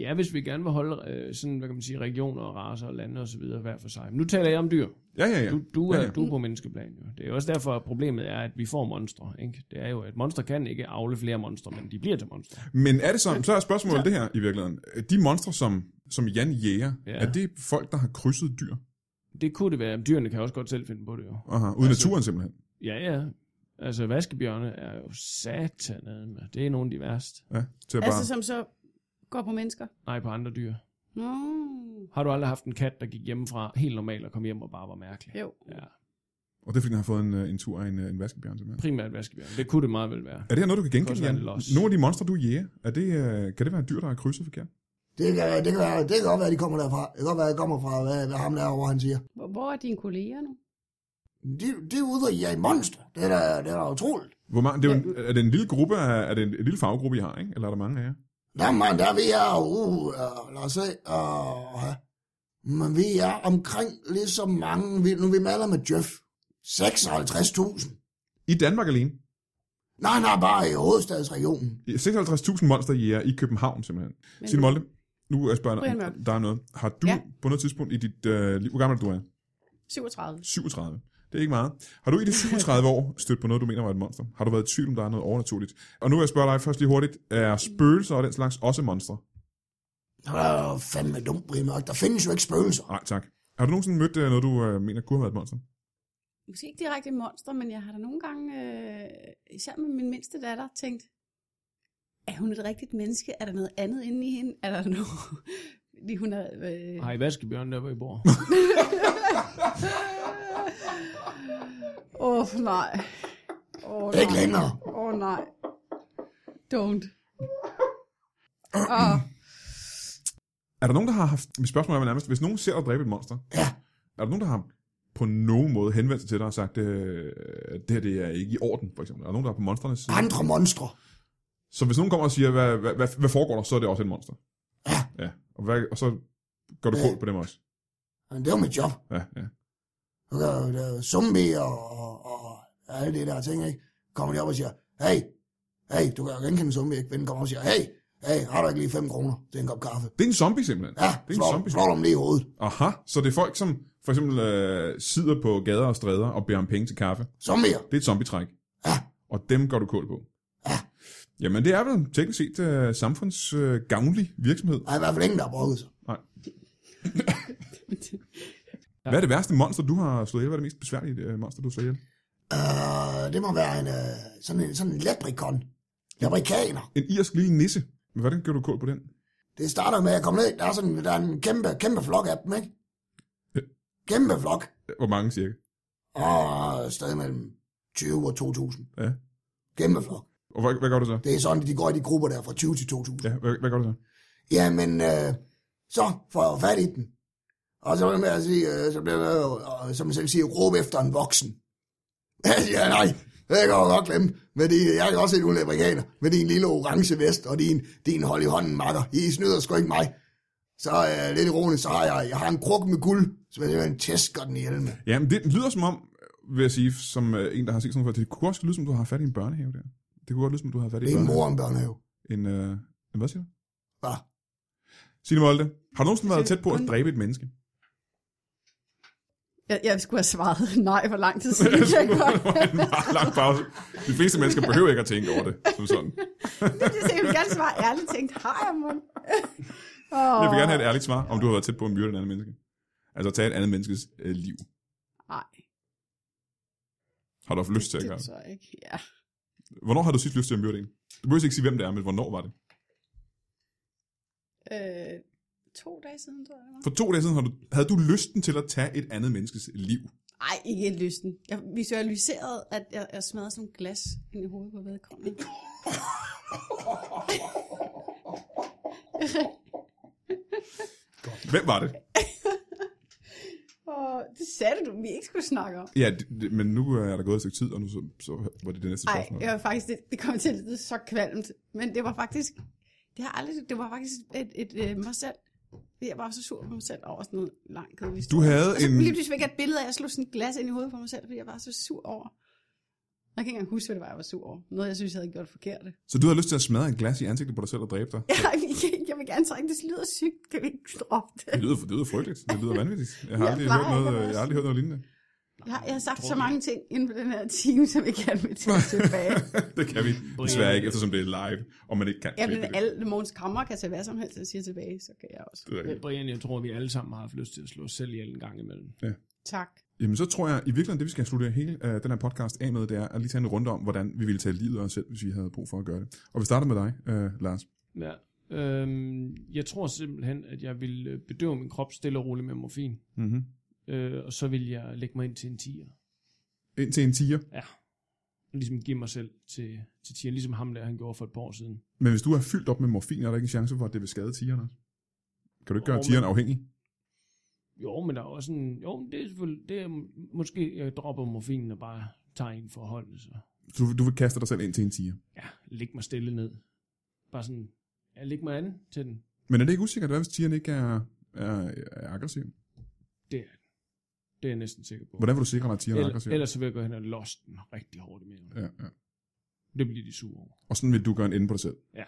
D: ja, hvis vi gerne vil holde øh, sådan, hvad kan man sige, regioner og raser og lande og så videre hver for sig. Men nu taler jeg om dyr.
A: Ja, ja, ja.
D: Du, du,
A: Ja,
D: er,
A: ja.
D: du er på menneskeplan jo. Det er jo også derfor, at problemet er, at vi får monstre. Ikke? Det er jo, at monstre kan ikke afle flere monstre, men de bliver til monstre.
A: Men er det sådan, så er spørgsmålet det her i virkeligheden. De monstre, som, som Jan jæger, ja.
D: Ja.
A: er det folk, der har krydset dyr?
D: Det kunne det være. Men Dyrene kan også godt selv finde på det jo.
A: Aha, uden altså,
D: Altså-
A: naturen simpelthen.
D: Ja, ja. Altså, vaskebjørne er jo satanede. Det er nogle af de værste.
A: Ja, til at bare...
B: Altså, som så går på mennesker.
D: Nej, på andre dyr.
B: Nå.
D: Har du aldrig haft en kat, der gik hjemmefra helt normalt og kom hjem og bare var mærkelig?
B: Jo.
D: Ja,
A: Og det er, fordi den har fået en, øh, en tur af en, øh, en vaskebjørn simpelthen.
D: primært vaskebjørne. Det kunne det meget vel være.
A: Er det her noget, du kan genkende,
D: Det
A: Jan?
D: kan også være en los.
A: Nogle af de monstre, du jæger, er det, øh, kan det være dyr, der har krydset forkert?
C: Det kan, det, kan være, det kan godt være, at de kommer derfra. Det kan godt være, at de kommer fra, hvad, hvad ham derovre, han siger.
B: Hvor, hvor er dine kolleger nu?
C: De, de er ude og jage monster. Det er da, det er da utroligt.
A: Hvor mange, det er, jo en, er det en lille gruppe, af- er det en, en lille faggruppe, I har, ikke? Eller er der mange af jer?
C: Der, man, der er vi er, uh, uh, lad os se, uh, ja. men vi er omkring lige så mange, vi, nu vi maler med Jeff. 56.000.
A: I Danmark alene.
C: Nej, nej, bare i hovedstadsregionen.
A: 56.000 monster jæger i København, simpelhen.
B: Men-
A: Signe Molde, nu er
B: Brian
A: spørgsmålet,
B: Mørk.
A: om der er noget. Har du ja.
B: Ja.
A: på noget tidspunkt i dit øh, liv, hvor gammel er du er?
B: 37.
A: 37. Det er ikke meget. Har du i de 37 år stødt på noget, du mener var et monster? Har du været i tvivl, om der er noget overnaturligt? Og nu vil jeg spørge dig først lige hurtigt. Er spøgelser og den slags også monstre?
C: Det er fandme dumt, Brian Mørk. Der findes jo ikke spøgelser.
A: Nej, tak. Har du nogensinde mødt øh, noget, du øh, mener kunne have været et monster?
B: Måske ikke direkte et monster, men jeg har da nogle gange, øh, især med min mindste datter, tænkt, er hun et rigtigt menneske? Er der noget andet inde i hende? Er der noget... Fordi hun er... Øh...
D: Har I vaskebjørne der, hvor I bor?
B: Åh, oh, nej. Åh, oh,
C: Ikke længere.
B: Åh, oh, nej. Don't. Og
A: Er der nogen, der har haft... Mit spørgsmål er vel nærmest, hvis nogen ser dig dræbe et monster,
C: Ja.
A: er der nogen, der har på nogen måde henvendt sig til dig og sagt, øh, det her det er ikke i orden, for eksempel? Er der nogen, der er på monsternes side?
C: Andre monstre.
A: Så hvis nogen kommer og siger, hvad, hvad, hvad, hvad foregår der, så er det også et monster.
C: Ja.
A: ja. Og, hvad, og så går du
C: Ja.
A: kål på dem også.
C: Men Det var mit job.
A: Ja, ja.
C: Og der, er- der er zombier og, og, og alle det der ting, ikke? Kommer de op og siger, hey, hey, du kan jo genkende en zombie, ikke? Vennen kommer op og siger, hey, hey, har du ikke lige 5 kroner til en kop kaffe?
A: Det er en zombie simpelthen.
C: Ja,
A: det er en
C: slår,
A: zombie.
C: slår dem lige i hovedet.
A: Aha, så det er folk, som for eksempel øh, sidder på gader og stræder og beder om penge til kaffe.
C: Zombier.
A: Det er et zombie-træk.
C: Ja.
A: Og dem går du kål på.
C: Ja.
A: Jamen, det er vel teknisk set øh, samfundsgavnlig øh, virksomhed.
C: Der er i hvert fald ingen, der har brokket sig.
B: Ah.
A: Hvad er det værste monster, du har slået ihjel? Hvad er det mest besværlige øh, monster, du har slået ihjel?
C: Uh, det må være en, uh, sådan en, sådan en leprikon. Leprikaner.
A: En irsk lille nisse. Men Hvordan gør du kål på den?
C: Det starter med at komme ned. Der er, sådan, der er en kæmpe, kæmpe flok af dem, ikke? Kæmpe flok.
A: Hvor mange cirka?
C: Og stadig mellem 20 og 2.000.
A: Ja.
C: Kæmpe flok.
A: Og hvad, hvad gør du så?
C: Det er sådan, at de går i de grupper der fra 20 til 2.000.
A: Ja, hvad, hvad gør du så?
C: Jamen, øh, så får jeg jo fat i den. Og så, med at sige, øh, så bliver jeg jo, øh, som jeg selv siger, råbe efter en voksen. ja, nej, det kan jeg godt glemme. Men de, jeg kan også se nogle amerikaner med din lille orange vest og din, din hold i hånden, makker. I snyder sgu ikke mig. Så øh, lidt ironisk, så har jeg, jeg har en kruk med guld, som jeg simpelthen tæsker den ihjel med.
A: Jamen, det lyder som om, øh, vil jeg sige, som øh, en, der har set sådan noget før, det kunne også lyde som, du har fat i en børnehave der. Det kunne godt lyde som, du har fat i
C: Det er en
A: børnehave.
C: mor og en børnehave.
A: En, øh, en hvad siger du?
C: Hva?
A: Signe Molde, har du nogensinde været
B: Signe,
A: tæt på at
B: kun-
A: dræbe et menneske?
B: jeg, jeg skulle have svaret nej for lang tid siden. kan Jeg godt.
A: en meget lang pause. De fleste mennesker behøver ikke at tænke over det, som sådan.
B: Det er det, jeg vil gerne svare ærligt tænkt, har jeg mon?
A: Jeg vil gerne have et ærligt svar, om du har været tæt på at myrde et andet menneske. Altså at tage et andet menneskes øh, liv.
B: Nej,
A: Har du haft lyst til at gøre
B: det
A: det?
B: tror jeg ikke. Ja.
A: Hvornår har du sidst lyst til at myrde en? Du behøver ikke sige, hvem det er, men hvornår var det?
B: Øh, to dage siden, tror jeg. det var.
A: For to dage siden har du, havde du lysten til at tage et andet menneskes liv.
B: Ej, ikke lysten. Jeg visualiserede, at jeg, jeg smadrede sådan nogle glas ind i hovedet på vedkommende.
A: Hvem var det?
B: Og det sagde du, vi ikke skulle snakke om.
A: Ja, det, det, men nu er der gået et stykke tid, og nu så, så var det det næste
B: Nej,
A: spørgsmål.
B: det var faktisk, det, det kom til at lyde så kvalmt, men det var faktisk, det har aldrig, det var faktisk et, et, et mig selv. Jeg var så sur på mig selv over sådan noget langt kedelig
A: Du havde
B: Og så
A: en...
B: lige pludselig fik jeg et billede af, at jeg slog sådan et glas ind i hovedet på mig selv, fordi jeg var så sur over. Jeg kan ikke engang huske, hvad det var, jeg var sur over. Noget, jeg synes, jeg havde gjort forkert.
A: Så du havde lyst til at smadre et glas i ansigtet på dig selv og dræbe dig?
B: Jeg, jeg vil gerne trække, det lyder sygt. Kan vi ikke droppe det?
A: Det lyder, det lyder frygteligt. Det lyder vanvittigt. Jeg har,
B: Jeg
A: aldrig,
B: plejer
A: hørt noget,
B: ikke at være
A: jeg har aldrig hørt noget lignende.
B: Jeg har, jeg har sagt så mange ting inden for den her time, som jeg gerne vil tage tilbage.
A: det kan vi desværre ikke, eftersom det er live, og man ikke kan
B: Jeg
A: klippe
B: vil,
A: det.
B: alle Måns Kammer kan tage hvad som helst og siger tilbage, så kan jeg også.
A: Det er rigtigt.
D: Brian, jeg tror, vi alle sammen har haft lyst til at slå os selv ihjel en gang imellem.
B: Tak.
A: Jamen så tror jeg, i virkeligheden, det vi skal slutte hele øh, den her podcast af med, det er at lige tage en runde om, hvordan vi ville tage livet af os selv, hvis vi havde brug for at gøre det. Og vi starter med dig, øh, Lars.
D: Ja. Øhm, jeg tror simpelthen, at jeg vil øh, bedøve min krop stille og roligt med morfin.
A: Mm-hmm.
D: Øh, og så vil jeg lægge mig ind til en tiger.
A: Ind til en tiger.
D: Ja. Ligesom give mig selv til, til tiger. Ligesom ham der, han gjorde for et par år siden.
A: Men hvis du er fyldt op med morfin, er der ikke en chance for, at det vil skade tigeren også? Kan du ikke gøre
D: Jo,
A: tigeren afhængig?
D: Jo, men der er også en... Jo, men det er selvfølgelig... Det er, m- måske jeg dropper morfinen og bare tager en for holdet, så...
A: Du, du vil kaste dig selv ind til en tiger.
D: Ja, læg mig stille ned. Bare sådan... Ja, læg mig an til den.
A: Men er det ikke usikkert, hvad hvis tigeren ikke er, er, er aggressiv?
D: Det er Det er jeg næsten sikker på.
A: Hvordan vil du sikre dig, at tigeren er
D: Eller,
A: aggressiv?
D: ellers så vil jeg gå hen og losse den rigtig hårdt i maven.
A: Ja, ja.
D: Det bliver de sure over.
A: Og sådan vil du gøre en ende på dig selv.
D: Ja.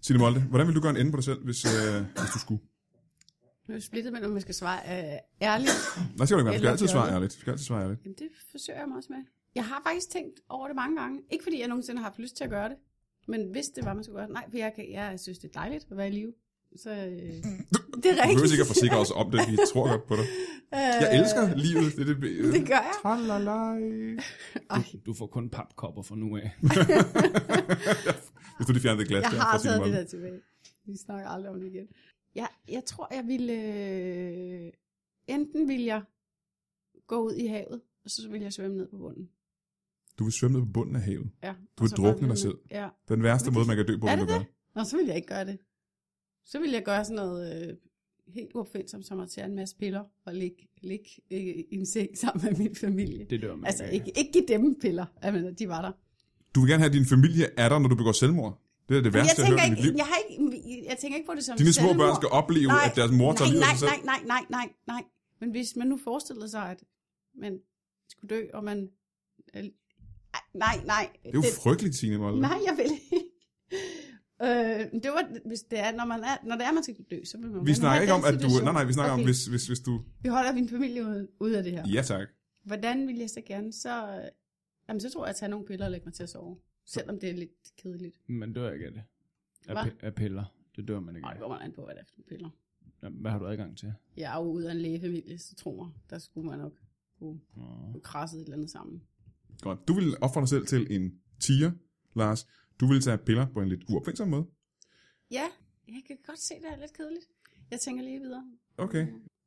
A: Signe Molde, hvordan vil du gøre en ende på dig selv, hvis, øh, hvis du skulle?
B: Nu er jeg splittet mellem, om jeg skal svare øh, ærligt.
A: Nej, skal du ikke være. Du skal
B: Eller
A: altid svare
B: fjollet.
A: ærligt. Du skal altid svare ærligt.
B: Jamen, det forsøger jeg mig også med. Jeg har faktisk tænkt over det mange gange. Ikke fordi jeg nogensinde har haft lyst til at gøre det. Men hvis det var, man skulle gøre det. Nej, for jeg, kan, jeg synes, det er dejligt at være i live. Så øh, det er
A: Mm. Du behøver
B: rigtigt.
A: sikkert forsikre os om det, vi tror godt på dig.
B: Øh,
A: Jeg elsker livet. Det, øh, det,
B: Det gør jeg.
A: Tralalaj.
D: Du, du får kun papkopper fra nu af.
A: Hvis du lige fjernede et glas
B: Jeg
A: der
B: har
A: fra Signe
B: taget det
A: Molde.
B: der tilbage. Vi snakker aldrig om det igen. Jeg, jeg tror, jeg ville... Øh, enten ville jeg gå ud i havet, og så ville jeg svømme ned på bunden.
A: Du vil svømme ned på bunden af havet.
B: Ja,
A: Du
B: og
A: vil
B: så
A: drukne
B: bare-
A: dig selv.
B: Ja.
A: Den værste måde, man kan dø på,
B: Er
A: vil
B: det
A: du gøre.
B: Nå, så ville jeg ikke gøre det. Så ville jeg gøre sådan noget øh, helt uopfindsomt, som at tage en masse piller og ligge, ligge øh, i en seng sammen med min familie.
D: Det dør man
B: Altså,
A: øh,
D: ikke.
B: ikke, ikke give dem piller, at de var der.
A: Du vil gerne have, at din familie er der, når du begår selvmord. Det er det
B: Men
A: værste,
B: jeg
A: jeg,
B: tænker,
A: har hørt i mit liv.
B: ikke, jeg, har ikke, jeg tænker ikke på det som
A: Dine små
B: selvmord.
A: børn skal opleve,
B: Nej,
A: at deres mor tager
B: nej,
A: livet af
B: nej,
A: sig selv.
B: nej, nej, nej, nej, nej. Men hvis man nu forestillede sig, at man skulle dø, og man... øh, Ej, nej, nej.
A: Det er jo frygteligt, Signe Molde.
B: Nej, jeg vil ikke. Øh, det var, hvis det er, når, man er, når det er, man skal dø, så vil man
A: Vi
B: gerne
A: snakker
B: have
A: ikke om,
B: den
A: at du...
B: situation.
A: Nej, nej, vi snakker okay. om,
B: Okay,
A: hvis, hvis, hvis du...
B: Vi holder min familie ude, ude af det her.
A: Ja, tak.
B: Hvordan vil jeg så gerne, så... øh, Jamen, så tror jeg, at jeg tager nogle piller og lægger mig til at sove. Selvom det er lidt kedeligt.
D: Man dør ikke af det. Af,
B: Hvad?
D: pi- af piller. Det dør man ikke
B: Nej,
D: af.
B: det kommer an på, hvad det er for nogle piller.
D: Jamen, Hvad har du adgang til?
B: Jeg er jo ude af en lægefamilie, så tror mig, der skulle man nok kunne
D: Nå.
B: kunne krasse et eller andet sammen.
A: Godt. Du vil ofre dig selv til en tiger, Lars. Du vil tage piller på en lidt uopfindsom måde.
B: Ja, jeg kan godt se, det er lidt kedeligt. Jeg tænker lige videre.
A: Okay.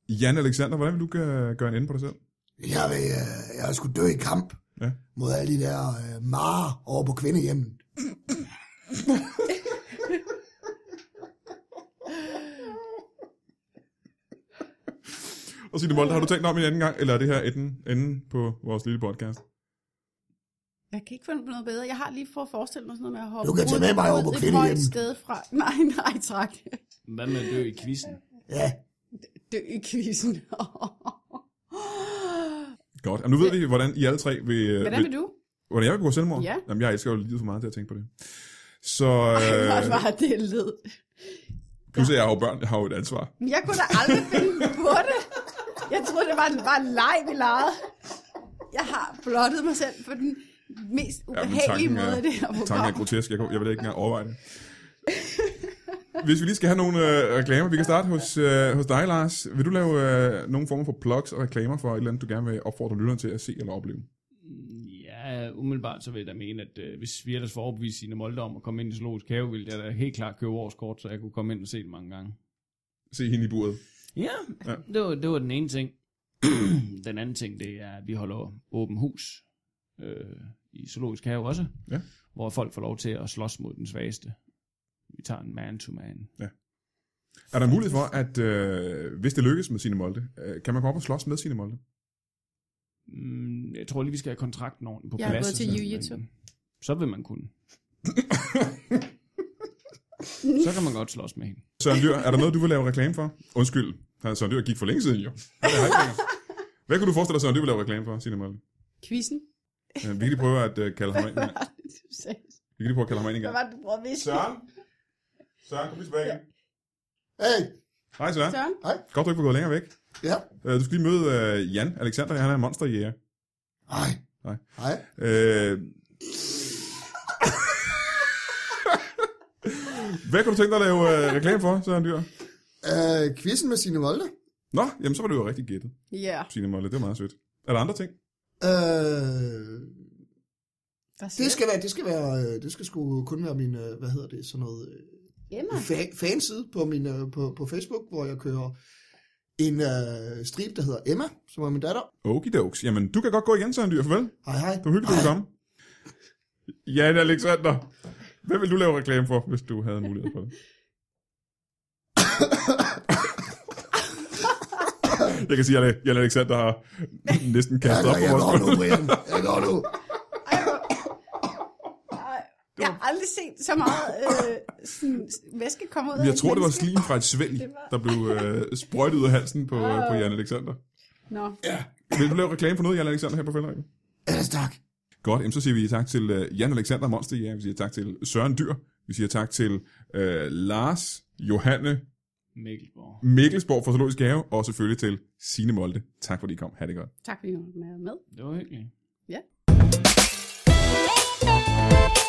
A: Jan Alexander, hvordan vil du gøre, gøre en ende på dig selv?
E: Jeg, vil, øh, jeg skulle dø i kamp
A: Ja.
E: mod alle de der øh, marer over på kvindehjemmet.
A: Og Signe Molde, har du tænkt dig om en anden gang, eller er det her enden, enden på vores lille podcast?
B: Jeg kan ikke finde på noget bedre. Jeg har lige prøvet at forestille mig sådan noget med at hoppe
E: Du kan tage
B: ud-
E: med mig over
B: ud
E: på
B: et
E: kvindehjem.
B: højt sted fra. Nej, nej, tak.
D: Hvad med at dø i quizzen?
E: Ja,
B: Dø i quizzen.
A: Godt. Jamen, nu ved vi, hvordan I alle tre vil... øh,
B: Hvordan vil du?
A: Hvordan jeg vil begå selvmord?
B: Ja.
A: Jamen, jeg elsker jo livet for meget til at tænke på det. Så...
B: Øh... Hvor
A: Øh,
B: var det led.
A: plus, at jeg har jo børn, jeg har jo et ansvar.
B: Men Jeg kunne da aldrig finde på det. Jeg troede, det var en, var en leg, vi legede. Jeg har blottet mig selv på den mest ubehagelige ja, måde, i det her
A: er, tanken
B: program.
A: er grotesk. Jeg, kunne- jeg vil ikke engang overveje det. Hvis vi lige skal have nogle øh, reklamer, vi kan starte hos, øh, hos dig, Lars. Vil du lave øh, nogle former for plugs og reklamer for et eller andet, du gerne vil opfordre lytteren til at se eller opleve?
D: Ja, umiddelbart så vil jeg da mene, at øh, hvis vi ellers får overbevist sine Molde om at komme ind i Zoologisk Have, ville jeg da helt klart købe årskort, så jeg kunne komme ind og se det mange gange.
A: Se hende i buret.
D: Ja,
A: Ja.
D: ja. Det, var, det var den ene ting. den anden ting, det er, at vi holder åben hus øh, i Zoologisk Have også,
A: Ja.
D: hvor folk får lov til at slås mod den svageste. Vi tager en man-to-man.
A: Er der mulighed for, at øh, hvis det lykkes med sine Molde, øh, kan man komme op og slås med sine Molde?
D: Mm, jeg tror lige, vi skal have kontrakten ordentligt på
B: Jeg
D: plads.
B: har gået
D: og
B: til
D: sådan,
B: jiu-jitsu.
D: men øh, Så vil man kunne. så kan man godt slås med hende.
A: Søren Dyr, er der noget, du vil lave reklame for? Undskyld, der er Søren Dyr gik for længe siden jo. Han er her ikke længere. Hvad kunne du forestille dig, Søren Dyr vil lave reklame for, Signe Molde?
B: Quizzen.
A: Øh, Vi kan lige prøve at øh, kalde ham ind.
B: Hvad var det, du sagde?
A: Vi kan lige prøve at kalde ham ind en
B: Hvad
A: gang.
B: var det, du prøvede at viske?
A: Søren? Søren, kom lige tilbage igen.
E: hey,
A: Hej Søren.
B: Søren?
A: Godt, du ikke var gået længere væk.
E: ja,
A: Øh, Du skal lige møde øh, Jan Alexander, han er en monsterjæger.
E: hej.
A: Nej.
E: Hej.
A: Øh... Hvad kunne du tænke dig at lave øh, reklame for, Søren Dyr?
E: Øh, quizzen med sine volde.
A: Nå, jamen så var det jo rigtig gættet,
B: Ja,
A: Signe Molde. Det var meget sødt. Er der andre ting?
E: Øh,
B: der
E: det skal være, det skal være, øh, det skal sgu kun være min, øh, hvad hedder det, sådan noget, øh,
B: Emma.
E: fa- fanside på, min, øh, på, på Facebook, hvor jeg kører en øh, strip, der hedder Emma, som er min datter.
A: Okidoks. Jamen, du kan godt gå igen, Søren Dyr. Farvel.
E: Hej, hej.
A: Det var hyggeligt, du kunne komme. Jan Alexander, hvad vil du lave reklame for, hvis du havde mulighed for det? Jeg kan sige, at Jan Alexander har næsten
E: Jeg,
A: kastet
E: jeg,
A: op på
E: jeg
A: vores
E: går nu,
A: gulv.
E: Brian. Jeg går nu.
B: Ej, hvor- Ej, Jeg har aldrig set så meget øh, sådan, væske komme ud af
A: Jeg
B: et
A: tror, det var
B: menneske.
A: slim fra et svælg, der blev øh, sprøjtet ud af halsen på, øh, på Jan Alexander.
B: Nå,
A: Vil du lave reklame for noget, Jan Alexander, her på Fældringen?
E: Ellers tak.
A: Godt, jamen så siger vi tak til øh, Jan Alexander Monster, ja, vi siger tak til Søren Dyr, vi siger tak til øh, Lars, Johanne,
D: Mikkelborg.
A: Mikkelsborg fra Zoologisk Have, og selvfølgelig til Signe Molde. Tak fordi I kom. Ha' det godt.
B: tak fordi du var med.
D: Det var hyggeligt.
B: Ja.
F: Thank you.